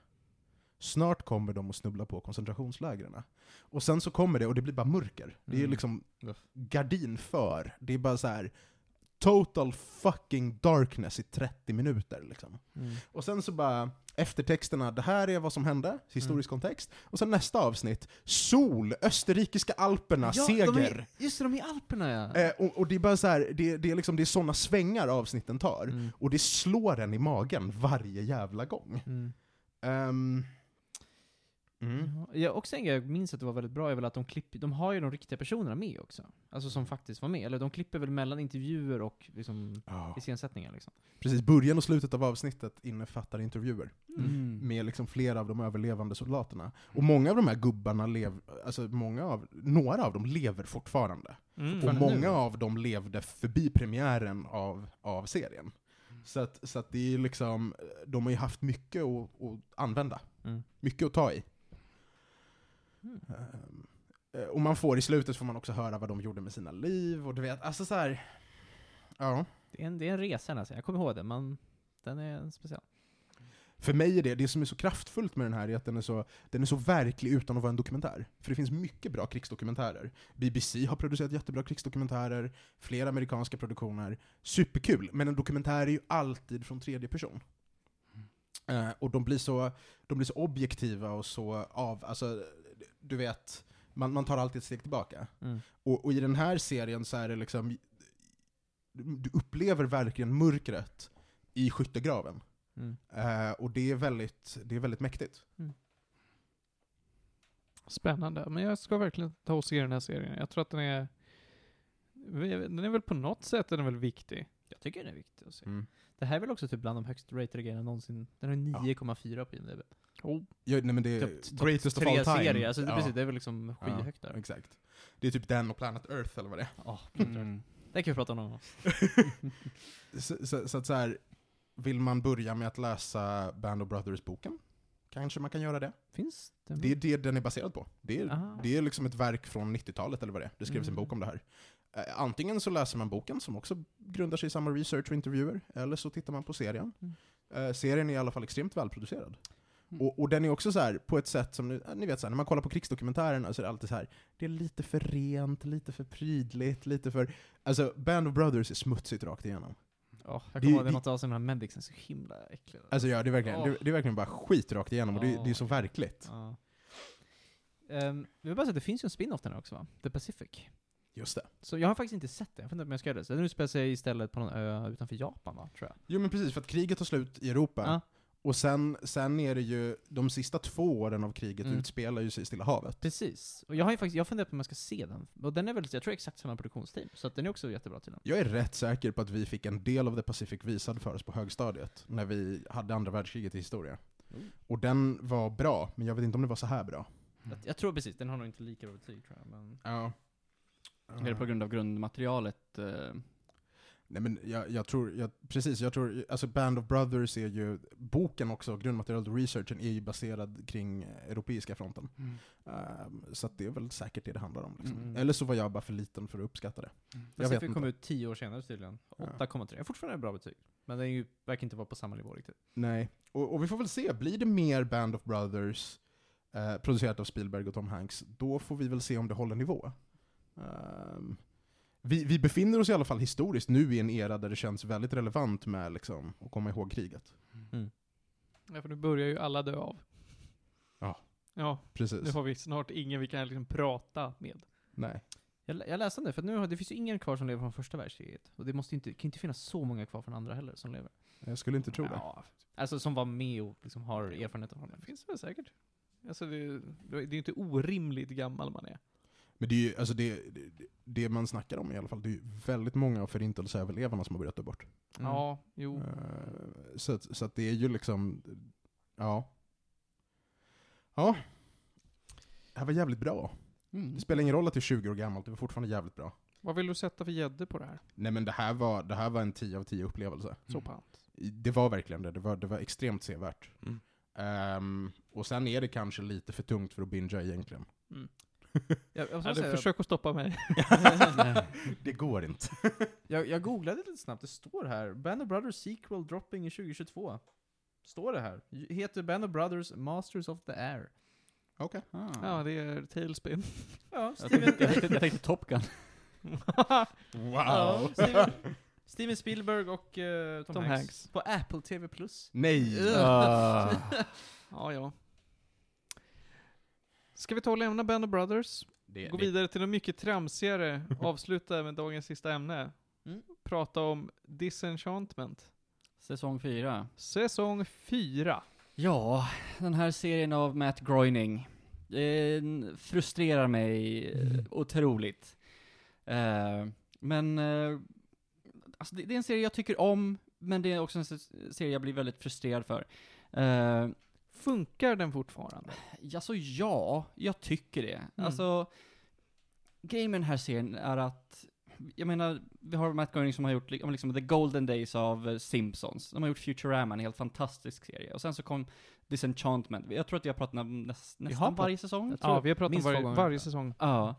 Snart kommer de att snubbla på koncentrationslägren. Och sen så kommer det och det blir bara mörker. Det är Mm. liksom Uff. gardin för. Det är bara så här total fucking darkness i 30 minuter liksom. Mm. Och sen så bara eftertexterna, det här är vad som hände, historisk Mm. kontext. Och sen nästa avsnitt, sol, österrikiska alperna, seger. De är, just det, de är i Alperna ja. Eh, och, och det är bara så här, det, det är liksom, det är såna svängar avsnitten tar. Mm. Och det slår en i magen varje jävla gång. Mm. Ehm, mm. Ja, Jag, också en grej jag minns att det var väldigt bra är väl att de klipper, de har ju de riktiga personerna med också. Alltså som faktiskt var med. Eller de klipper väl mellan intervjuer och liksom Ja. iscensättningar liksom. Precis, början och slutet av avsnittet innefattar intervjuer Mm. med liksom flera av de överlevande soldaterna. Och många av de här gubbarna, lev, alltså många av, några av dem lever fortfarande. Mm. Och Mm, Fortfarande nu, många va? av dem levde förbi premiären av, av serien. Mm. Så, att, så att det är liksom, de har ju haft mycket att, att använda. Mm. Mycket att ta i. Mm. Ehm, eh, Och man får i slutet får man också höra vad de gjorde med sina liv och du vet, alltså så här. Ja. Det är en, det är en resa alltså. Jag kommer ihåg den, men den är speciell. För mig är det, det som är så kraftfullt med den här är att den är så, den är så verklig utan att vara en dokumentär. För det finns mycket bra krigsdokumentärer. BBC har producerat jättebra krigsdokumentärer, flera amerikanska produktioner. Superkul, men en dokumentär är ju alltid från tredje person. Eh, och de blir, så, de blir så objektiva och så av, alltså, du vet, man, man tar alltid ett steg tillbaka. Mm. Och, och i den här serien så är det liksom, du upplever verkligen mörkret i skyttegraven. Mm. Eh, och det är väldigt, det är väldigt mäktigt. Spännande. Men jag ska verkligen ta och se den här serien. Jag tror att den är... Den är väl på något sätt är den väl viktig. Jag tycker den är viktig att se. Mm. Det här är väl också typ bland de högst ratade grejerna någonsin. Den har 9,4 på IMDB. Oh. Ja, nej men det är Typ topp Eh, greatest of all Tre time. serier, alltså det, Ja, precis, det är väl liksom ja, skyhögt där. Exakt. Det är typ den och Planet Earth eller vad det är. Ah, Ja, Mm. Det kan vi prata om någon gång. Så, så, så att så här, vill man börja med att läsa Band of Brothers-boken? Kanske man kan göra det. Finns det? Det är det den är baserad på. Det är, Aha. det är liksom ett verk från 90-talet eller vad det är. Det skrevs Mm. en bok om det här. Eh, Antingen så läser man boken, som också grundar sig i samma research och intervjuer, eller så tittar man på serien. Mm. Eh, serien är i alla fall extremt välproducerad. Mm. Och, och den är också så här på ett sätt som, eh, ni- ni vet så här, när man kollar på krigsdokumentärerna så är det alltid så här det är lite för rent, lite för prydligt, lite för... Alltså, Band of Brothers är smutsigt rakt igenom. Ja, jag Det- kommer ihåg det det- något avsnitt med de här medicsen, så himla äckliga. Alltså ja, det är verkligen, Åh. det, det är verkligen bara skit rakt igenom och det, det är så Åh. verkligt. Ja. Ehm, jag vill bara säga att det finns ju en spin-off den här också va? The Pacific. Just det. Så jag har faktiskt inte sett den, jag funderar på om jag ska göra det. Så den utspelar sig istället på någon ö utanför Japan va, tror jag. Jo men precis, för att kriget tar slut i Europa. Ja. Och sen, sen är det ju, de sista två åren av kriget Mm. utspelar ju sig i Stilla havet. Precis. Och jag har ju faktiskt, jag funderar på om jag ska se den. Och den är väl, jag tror exakt samma produktionsteam, så att den är också jättebra tydligen. Jag är rätt säker på att vi fick en del av The Pacific visad för oss på högstadiet, när vi hade andra världskriget i historia. Och den var bra, men jag vet inte om det var så här bra. Jag, jag tror precis, den har nog inte lika bra betyg tror jag, men... Ja. Är det på grund av grundmaterialet? eh, Nej men jag, jag tror, jag, precis, jag tror, alltså Band of Brothers är ju, boken också, grundmaterialet och researchen är ju baserad kring eh, Europeiska fronten. Ehm, så att det är väl säkert det det handlar om. Liksom. Mm. Eller så var jag bara för liten för att uppskatta det. Jag vet Pacific inte. kom ut tio år senare tydligen. Ja. 8,3. Fortfarande ett bra betyg. Men den är ju, verkar inte vara på samma nivå riktigt. Nej. Och, och vi får väl se, blir det mer Band of Brothers eh, producerat av Spielberg och Tom Hanks, då får vi väl se om det håller nivå. Ehm, vi, vi befinner oss i alla fall historiskt nu i en era där det känns väldigt relevant med liksom, Mm. att komma ihåg kriget. Ja, för nu börjar ju alla dö av. Ja, nu Precis. har vi snart ingen vi kan liksom prata med. Nej. Jag, lä- jag läste om det, för nu har, det finns ju ingen kvar som lever från första världskriget. Och det måste ju inte, kan ju inte finnas så många kvar från andra heller som lever. Jag skulle inte tro det. Ja, alltså som var med och liksom har erfarenhet av Det Mm. det. finns väl säkert. Alltså det, det är ju inte orimligt gammal man är. Men det är ju, alltså det, det, det man snackar om i alla fall, det är ju väldigt många av förintelseöverlevarna som har börjat dö bort. Mm. Ja, jo. Eh, Så, att- så att det är ju liksom, ja. Ja. Det här var jävligt bra. Mm. Det spelar ingen roll att det är 20 år gammalt, det var fortfarande jävligt bra. Vad vill du sätta för gädde på det här? Nej men det här var, det här var en 10 av 10 upplevelse. Så pant. Det var verkligen det, det var, det var extremt sevärt. Mm. Ehm, och sen är det kanske lite för tungt för att bingea egentligen. Jag, jag, Ja, jag, du, säga, försök att stoppa mig. Det går inte. jag, jag googlade lite snabbt, det står här Band of Brothers sequel dropping i 2022. Står det här. J- Heter Band of Brothers Masters of the Air. Okej. Ah. Ja, det är tailspin. Ja, jag, Steven, tänkte, jag, tänkte, jag tänkte Top Gun. ja, Wow! Steven, Steven Spielberg och eh, Tom, Tom Hanks. Hanks. På Apple TV+. Plus. Nej! Ugh. Ah. Ja, ja. Ska vi ta och lämna Band of Brothers? Det, Gå det, vidare till något mycket tramsigare. Avsluta med dagens sista ämne. Mm. Prata om Disenchantment. Säsong 4. Säsong 4. Ja, den här serien av Matt Groening den frustrerar mig eh, otroligt. Eh, men eh, alltså det, det är en serie jag tycker om, men det är också en se- serie jag blir väldigt frustrerad för. Eh, Funkar den fortfarande? Alltså ja, jag tycker det. Alltså, grejen med den här serien är att, jag menar, vi har Matt Groening som har gjort li- om liksom, The Golden Days av eh, Simpsons. De har gjort Futurama, en helt fantastisk serie. Och sen så kom Disenchantment. Jag tror att vi har pratat om näs, nästan prat- varje säsong. Jag tror- Ja, vi har pratat om minst varje, två gånger. varje säsong. Ja.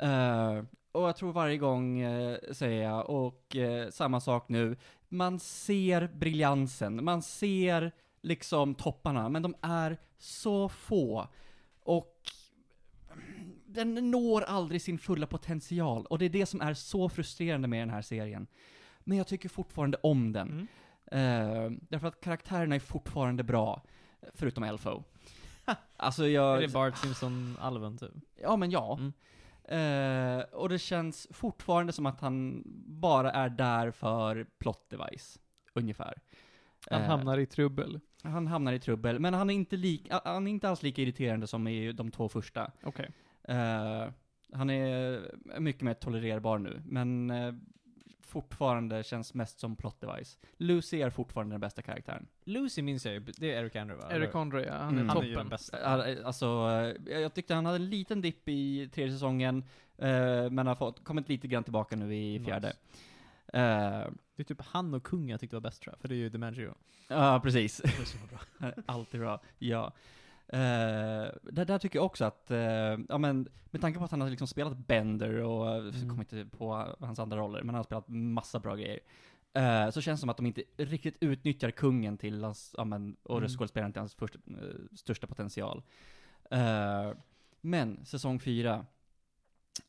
Eh, och jag tror varje gång, eh, säger jag, och eh, samma sak nu. Man ser briljansen, man ser liksom topparna, men de är så få. Och den når aldrig sin fulla potential. Och det är det som är så frustrerande med den här serien. Men jag tycker fortfarande om den. Mm. Eh, därför att karaktärerna är fortfarande bra, förutom Elfo. alltså jag... Är det Bart Simpson-alven typ? Ja, men ja. Mm. Eh, och det känns fortfarande som att han bara är där för plot device, ungefär. Han Eh, hamnar i trubbel. han hamnar i trubbel, men han är inte, lik, han är inte alls lika irriterande som i de två första. Okej. Eh, han är mycket mer tolererbar nu, men eh, fortfarande känns mest som plot device. Lucy är fortfarande den bästa karaktären. Lucy minns jag ju, det är Eric Andrew va? Eric Andre, ja, han är Mm. Han är ju toppen. den bästa. Eh, Alltså, eh, jag tyckte han hade en liten dipp i tredje säsongen, eh, men har fått, kommit lite grann tillbaka nu i Nice. fjärde. Eh, Det är typ han och kungen jag tyckte var bäst tror jag, för det är ju DiMaggio. Ja, precis. Han är Alltid bra. Ja. Eh, där, där tycker jag också att, eh, ja men med tanke på att han har liksom spelat Bender och, mm. Mm. kommer inte på hans andra roller, men han har spelat massa bra grejer. Eh, så känns det som att de inte riktigt utnyttjar kungen till hans, ja men, och Mm. röstskådespelaren till hans första, eh, största potential. Eh, men, säsong fyra.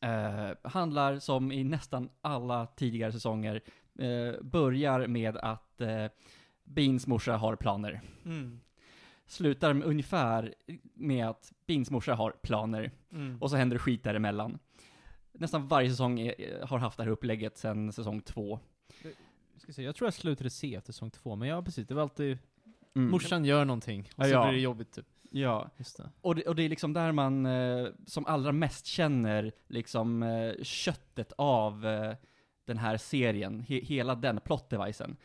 eh, handlar som i nästan alla tidigare säsonger, eh, börjar med att eh, Beans morsa har planer. Mm. Slutar med ungefär med att Beans morsa har planer. Mm. Och så händer det skit däremellan. Nästan varje säsong är, har haft det här upplägget sedan säsong två. Ska se, jag tror jag slutade se efter säsong två, men ja precis, det var alltid Mm. morsan gör någonting, och Ja, så ja. blir det jobbigt typ. Ja, Just det. och det, och det är liksom där man eh, som allra mest känner liksom eh, köttet av eh, den här serien. He, hela den plot-devicen.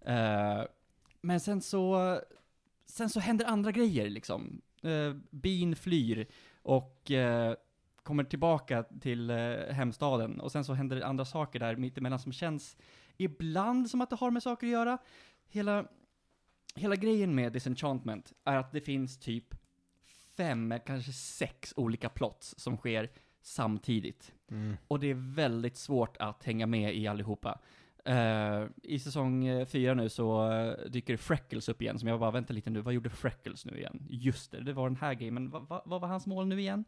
Eh, men sen så, sen så händer andra grejer liksom. Eh, bin flyr och eh, kommer tillbaka till eh, hemstaden och sen så händer det andra saker där mittemellan som känns ibland som att det har med saker att göra. Hela, hela grejen med Disenchantment är att det finns typ fem, kanske sex olika plots som sker samtidigt. mm. Och det är väldigt svårt att hänga med i allihopa. Eh, I säsong eh, fyra nu så eh, dyker Freckles upp igen, som jag bara väntar lite nu, vad gjorde Freckles nu igen? Just det, det var den här grejen, men va, va, vad var hans mål nu igen?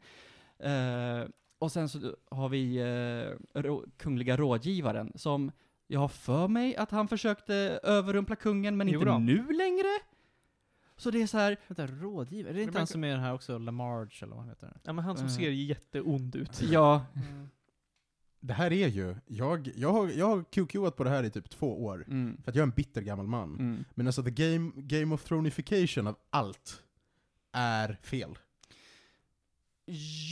Eh, och sen så har vi eh, rå, kungliga rådgivaren, som jag har för mig att han försökte överrumpla kungen, men Jo inte då. nu längre. Så det är så här, Vänta, rådgivare? Är det Men inte man han kan- som är den här också, Lamarge eller vad han heter? Ja, men han som Mm. ser jätteond ut. ja, Det här är ju, jag, jag, har, jag har QQat på det här i typ två år. mm, För att jag är en bitter gammal man. mm. Men alltså the game, game of thronification av allt är fel.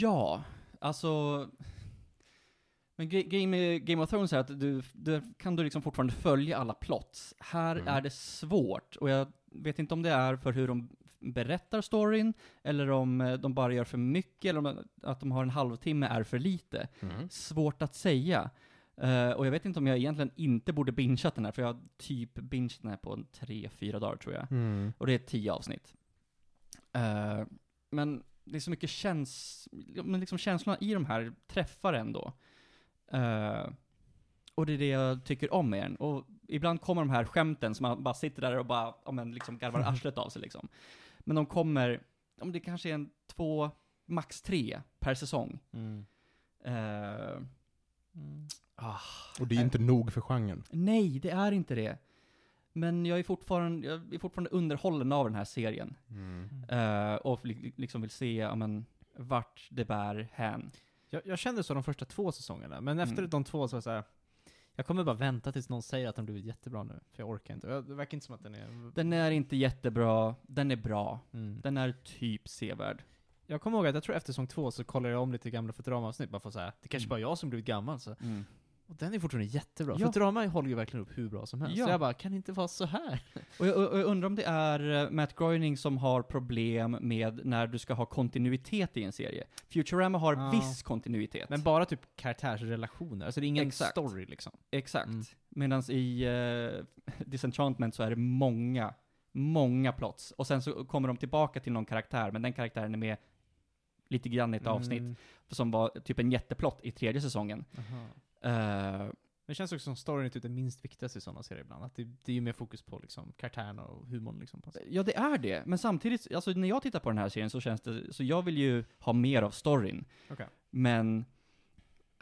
Ja, alltså... Men gre- grejen med Game of Thrones är att du, där kan du liksom fortfarande följa alla plots. Här Mm. är det svårt, och jag vet inte om det är för hur de berättar storyn, eller om eh, de bara gör för mycket, eller om de- att de har en halvtimme är för lite. Svårt att säga. Eh, och jag vet inte om jag egentligen inte borde bingeat den här, för jag har typ bingeat den här på en tre, fyra dagar tror jag. Mm. Och det är tio avsnitt. Eh, men det är så mycket käns... Men liksom känslorna i de här träffar ändå. Eh, och det är det jag tycker om med den. Och ibland kommer de här skämten som man bara sitter där och bara, ja men liksom garvar arslet av sig liksom. Men de kommer, om det kanske är en två, max tre per säsong. Mm. Eh, Och det är inte nog för genren. nej, det är inte det. Men jag är fortfarande, jag är fortfarande underhållen av den här serien. mm. Eh, och li- liksom vill se ja, men, vart det bär hän. Jag, jag kände så de första två säsongerna, men efter Mm. de två så var jag så här. Jag kommer bara vänta tills någon säger att den blivit jättebra nu, för jag orkar inte. Och jag- Det verkar inte som att den är... Den är inte jättebra, den är bra. Mm. Den är typ sevärd. Jag kommer ihåg att jag tror efter säsong två så kollade jag om lite gamla Futurama-avsnitt bara för att säga det kanske Mm. bara är jag som blivit gammal så. Och den är fortfarande jättebra. Ja. Futurama håller ju verkligen upp hur bra som helst. Ja. Så jag bara, kan det inte vara så här? Och, jag, och jag undrar om det är eh, Matt Groening som har problem med när du ska ha kontinuitet i en serie. Futurama har Ja. viss kontinuitet. Men bara typ karaktärsrelationer, alltså det är ingen Exakt. story liksom. Exakt. Mm. Medan i eh, Disenchantment så är det många, många plots. Och sen så kommer de tillbaka till någon karaktär, men den karaktären är med lite grann Mm. i ett avsnitt. Som var typ en jätteplott i tredje säsongen. Aha. Eh, Men det känns också som storyn är typ den minst viktigaste i sådana serier ibland. Att det, det är ju mer fokus på liksom karaktärerna och humorn liksom. På något sätt. Ja, det är det. Men samtidigt, alltså när jag tittar på den här serien så känns det, så jag vill ju ha mer av storyn. Okej. Men,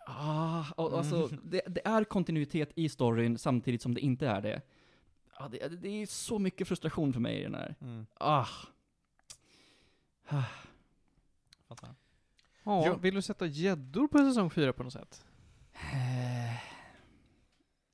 ah, och, alltså det, det är kontinuitet i storyn samtidigt som det inte är det. Ah, det, det är så mycket frustration för mig i den här. Ah. Fattar. Ja, Ja. vill du sätta gäddor på säsong fyra på något sätt? Eh.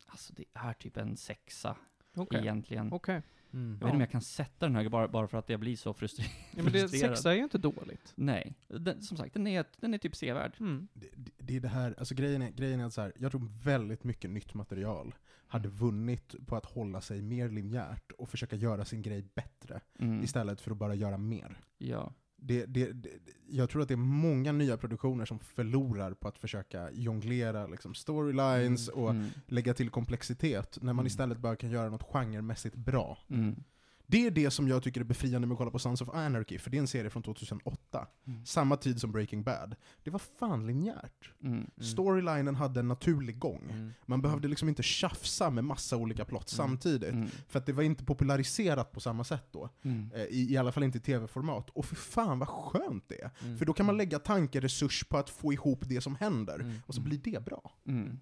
Alltså det är typ en sexa Okej. egentligen. Okej. Mm. Jag Mm. vet inte om jag kan sätta den högre bara, bara för att jag blir så frustrerad. Ja, men det, Frustrerad. sexa är ju inte dåligt. Nej, den, som sagt den är, den är typ sevärd. Mm. Det, det- det är det här, alltså grejen är, grejen är att så här, jag tror väldigt mycket nytt material hade Mm. vunnit på att hålla sig mer linjärt och försöka göra sin grej bättre Mm. istället för att bara göra mer. Ja. Det, det, det, jag tror att det är många nya produktioner som förlorar på att försöka jonglera liksom, storylines Mm. och Mm. lägga till komplexitet när man Mm. istället bara kan göra något genremässigt bra. Mm. Det är det som jag tycker är befriande med att kolla på Sons of Anarchy, för det är en serie från 2008. Mm. Samma tid som Breaking Bad. Det var fan linjärt. Mm. Storylinen hade en naturlig gång. Mm. Man behövde liksom inte tjafsa med massa olika plott Mm. samtidigt. Mm. För att det var inte populariserat på samma sätt då. Mm. Eh, I, i alla fall inte i tv-format. Och för fan vad skönt det är. Mm. För då kan man lägga tankeresurs på att få ihop det som händer. Mm. Och så blir det bra. Mm.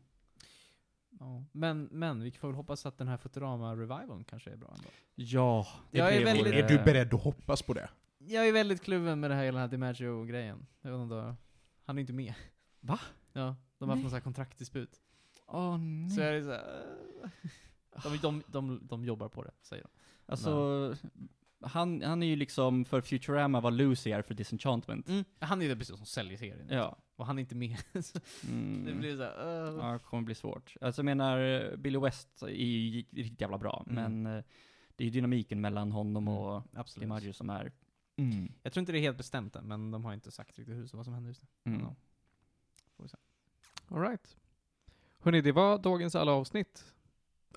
Ja. Men, men vi får väl hoppas att den här Futurama-revivalen kanske är bra ändå. Ja, det Jag är väldigt- vore- Är du beredd att hoppas på det? Jag är väldigt kluven med det här hela den här DiMaggio-grejen. Jag vet inte, om du- han är inte med. Va? Ja, de har haft Nej. någon sån här kontraktdisput. Åh nej. Så jag är så här, eh. de, de, de, de jobbar på det, säger de. alltså, han, han är ju liksom för Futurama vad Lucy är för Disenchantment. Han är det precis som säljer serien. Mm. Ja. Och han är inte med. Så Mm. Mm. det blir så här, eh. Ja, det kommer bli svårt. Alltså jag menar, eh, Billy West är ju riktigt jävla bra, Mm. men eh, det är ju dynamiken mellan honom Mm, och Absolut. DiMaggio som är... Jag tror inte det är helt bestämt än, men de har inte sagt riktigt hur, vad som händer just nu. Mm. Ja. All right. Hörrni, det var dagens alla avsnitt.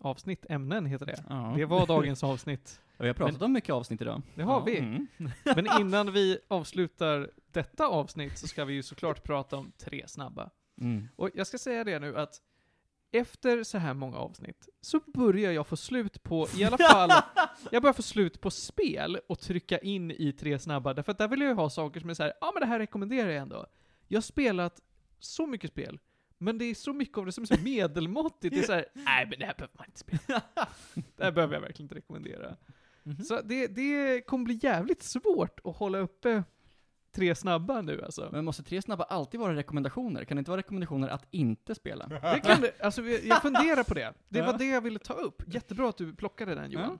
Avsnitt, ämnen heter det. Ja. Det var dagens avsnitt. Vi har pratat om mycket avsnitt idag. Det har Ja, vi. Mm. Men innan vi avslutar detta avsnitt så ska vi ju såklart prata om tre snabba. Mm. Och jag ska säga det nu att efter så här många avsnitt så börjar jag få slut på, i alla fall, jag börjar få slut på spel och trycka in i tre snabba, därför att där vill jag ju ha saker som är så här, ja men det här rekommenderar jag ändå. Jag har spelat så mycket spel, men det är så mycket av det som är så medelmåttigt, det är så här, nej men det här behöver man inte spela. det här behöver jag verkligen inte rekommendera. Mhm. Så det, det kommer bli jävligt svårt att hålla uppe tre snabba nu alltså. Men måste tre snabba alltid vara rekommendationer? Kan det inte vara rekommendationer att inte spela? Det kan det, alltså jag jag funderar på det. Det var det jag ville ta upp. Jättebra att du plockade den Johan.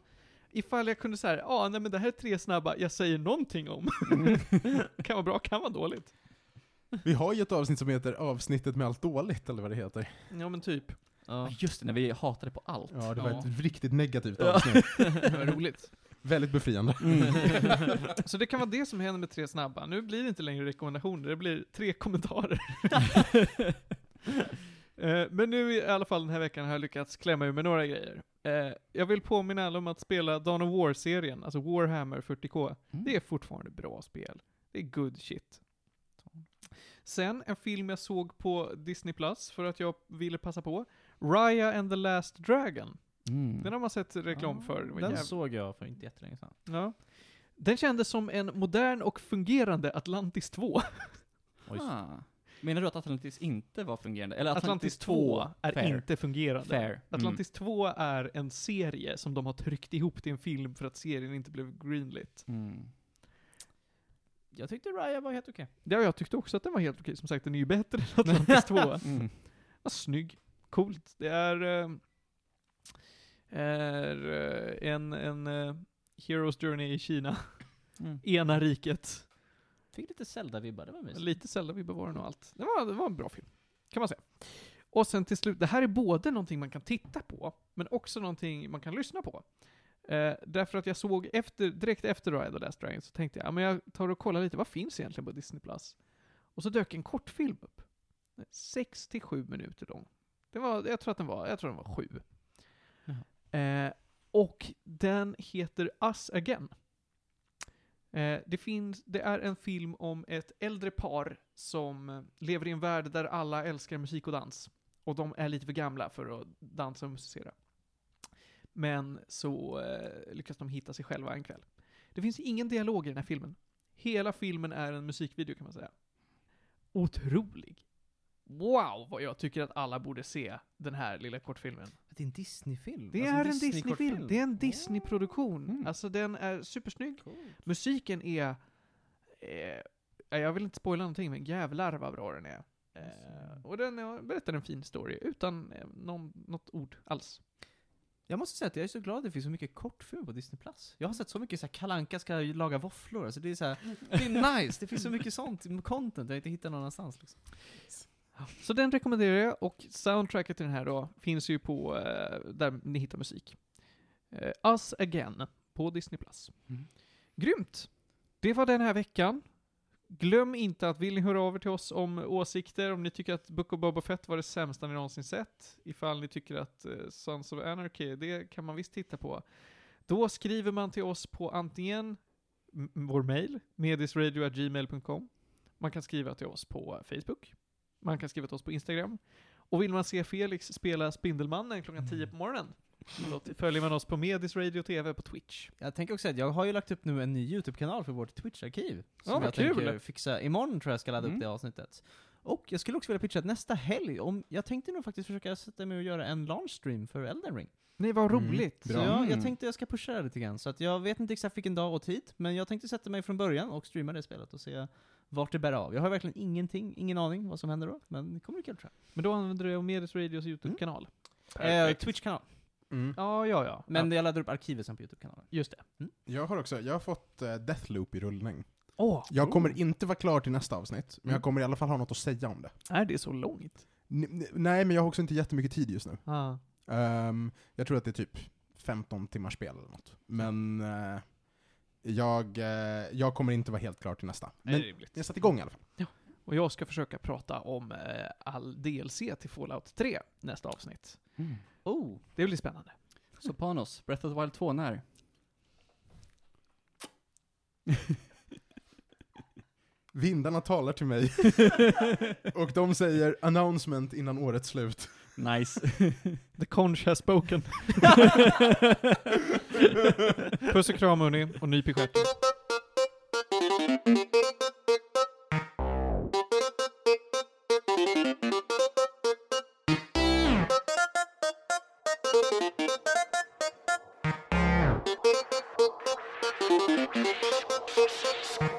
Ifall jag kunde säga, ja ah, nej men det här är tre snabba, jag säger någonting om. kan vara bra, kan vara dåligt. Vi har ju ett avsnitt som heter avsnittet med allt dåligt, eller vad det heter. Ja men typ. Ja, Ja. just det, när vi hatade på allt. Ja, det var Ja. ett riktigt negativt Ja. avsnitt. Vad roligt. Väldigt befriande. Så det kan vara det som händer med tre snabba. Nu blir det inte längre rekommendationer, det blir tre kommentarer. Eh, Men nu i alla fall den här veckan har jag lyckats klämma ur med några grejer. Eh, Jag vill påminna alla om att spela Dawn of War-serien, alltså Warhammer 40K. Det är fortfarande bra spel. Det är good shit. Sen en film jag såg på Disney Plus för att jag ville passa på. Raya and the Last Dragon. Mm. Den har man sett reklam för. Det var Den jävligt- såg jag för inte jättelänge sedan. Ja. Den kändes som en modern och fungerande Atlantis 2. Mm. Ah. Menar du att Atlantis inte var fungerande? Eller Atlantis, 2 är fair. inte fungerande. Fair. Mm. Atlantis 2 är en serie som de har tryckt ihop till en film för att serien inte blev greenlit. Mm. Jag tyckte Raya var helt okej. Det har jag tyckte också att den var helt okej. Som sagt, den är ju bättre än Atlantis 2. Mm. Vad snygg. Coolt. Det är, eh, är eh, en, en eh, Heroes Journey i Kina. Mm. Ena riket. Fick lite Zelda-vibbar, det var mysigt. Lite sällan vi bevarar och allt. Det var, det var en bra film, kan man säga. Och sen till slut, det här är både någonting man kan titta på, men också någonting man kan lyssna på. Eh, därför att jag såg efter, direkt efter Ride the Last Dragon så tänkte jag, ja, men jag tar och kollar lite, vad finns egentligen på Disney Plus? Och så dök en kortfilm upp. 67 minuter lång. Det var, jag tror att den var, jag tror den var sju. Eh, och den heter Us Again. Eh, det, finns, det är en film om ett äldre par som eh, lever i en värld där alla älskar musik och dans. Och de är lite för gamla för att dansa och musicera. Men så eh, lyckas de hitta sig själva en kväll. Det finns ingen dialog i den här filmen. Hela filmen är en musikvideo kan man säga. Otrolig. Wow, vad jag tycker att alla borde se den här lilla kortfilmen. Det är en Disney-film. Alltså, Det är en Disney-film. Det är en Disney-produktion. Mm. Alltså den är supersnygg. Musiken är... Eh, jag vill inte spoila någonting, men jävlar vad bra den är. Eh, och den eh, berättar en fin story utan eh, någon, något ord alls. Jag måste säga att jag är så glad att det finns så mycket kortfilm på Disney+. Plus. Jag har sett så mycket så här Kalanka ska ju laga våfflor, alltså det är så här, det är nice, det finns så mycket sånt content jag inte hittar någon annanstans liksom. Så den rekommenderar jag och soundtracket till den här då finns ju på eh, där ni hittar musik. Eh, Us Again på Disney+. Plus. Mm. Grymt! Det var den här veckan. Glöm inte att vill ni höra av er till oss om åsikter, om ni tycker att Book of Boba Fett var det sämsta ni någonsin sett, ifall ni tycker att eh, Sons of Anarchy, det kan man visst titta på. Då skriver man till oss på antingen m- vår mail, medisradio.gmail.com, man kan skriva till oss på Facebook, man kan skriva till oss på Instagram, och vill man se Felix spela Spindelmannen klockan 10 Mm. på morgonen, då följer man oss på Medis Radio TV på Twitch. Jag tänker också att jag har ju lagt upp nu en ny YouTube-kanal för vårt Twitch-arkiv. Som vad jag kul. tänker fixa, imorgon tror jag ska ladda Mm. upp det avsnittet. Och jag skulle också vilja pitcha att nästa helg, om, jag tänkte nog faktiskt försöka sätta mig och göra en launchstream för Elden Ring. Nej, vad Mm. roligt! Bra. Så jag, Mm. jag tänkte jag ska pusha det här lite grann, så att jag vet inte exakt vilken dag och tid, men jag tänkte sätta mig från början och streama det spelet och se vart det bär av. Jag har verkligen ingenting, ingen aning vad som händer då, men det kommer bli kul tror Men då använder du Medis Radios YouTube-kanal? jag. Eh, Twitch-kanal. Mm. Ja, ja, ja. Men ja. jag laddar upp arkivet sen på YouTube-kanalen. Just det. Jag har också, jag har fått eh, Deathloop i rullning. Åh, Jag kommer inte vara klar till nästa avsnitt, men Mm. jag kommer i alla fall ha något att säga om det. är det så långt? N- n- nej, men jag har också inte jättemycket tid just nu. Ah. Ehm, jag tror att det är typ 15 timmars spel eller något. Men eh, jag, eh, jag kommer inte vara helt klar till nästa. Men, Men jag satte igång i alla fall. Och jag ska försöka prata om eh, all DLC till Fallout 3 nästa avsnitt. Mm. Oh! Det blir spännande. Så Panos, Breath of the Wild 2 när? Vindarna talar till mig och de säger announcement innan årets slut. Nice. The Conch has spoken. Puss och kram hörni, och nyp i stjärten. Thank you.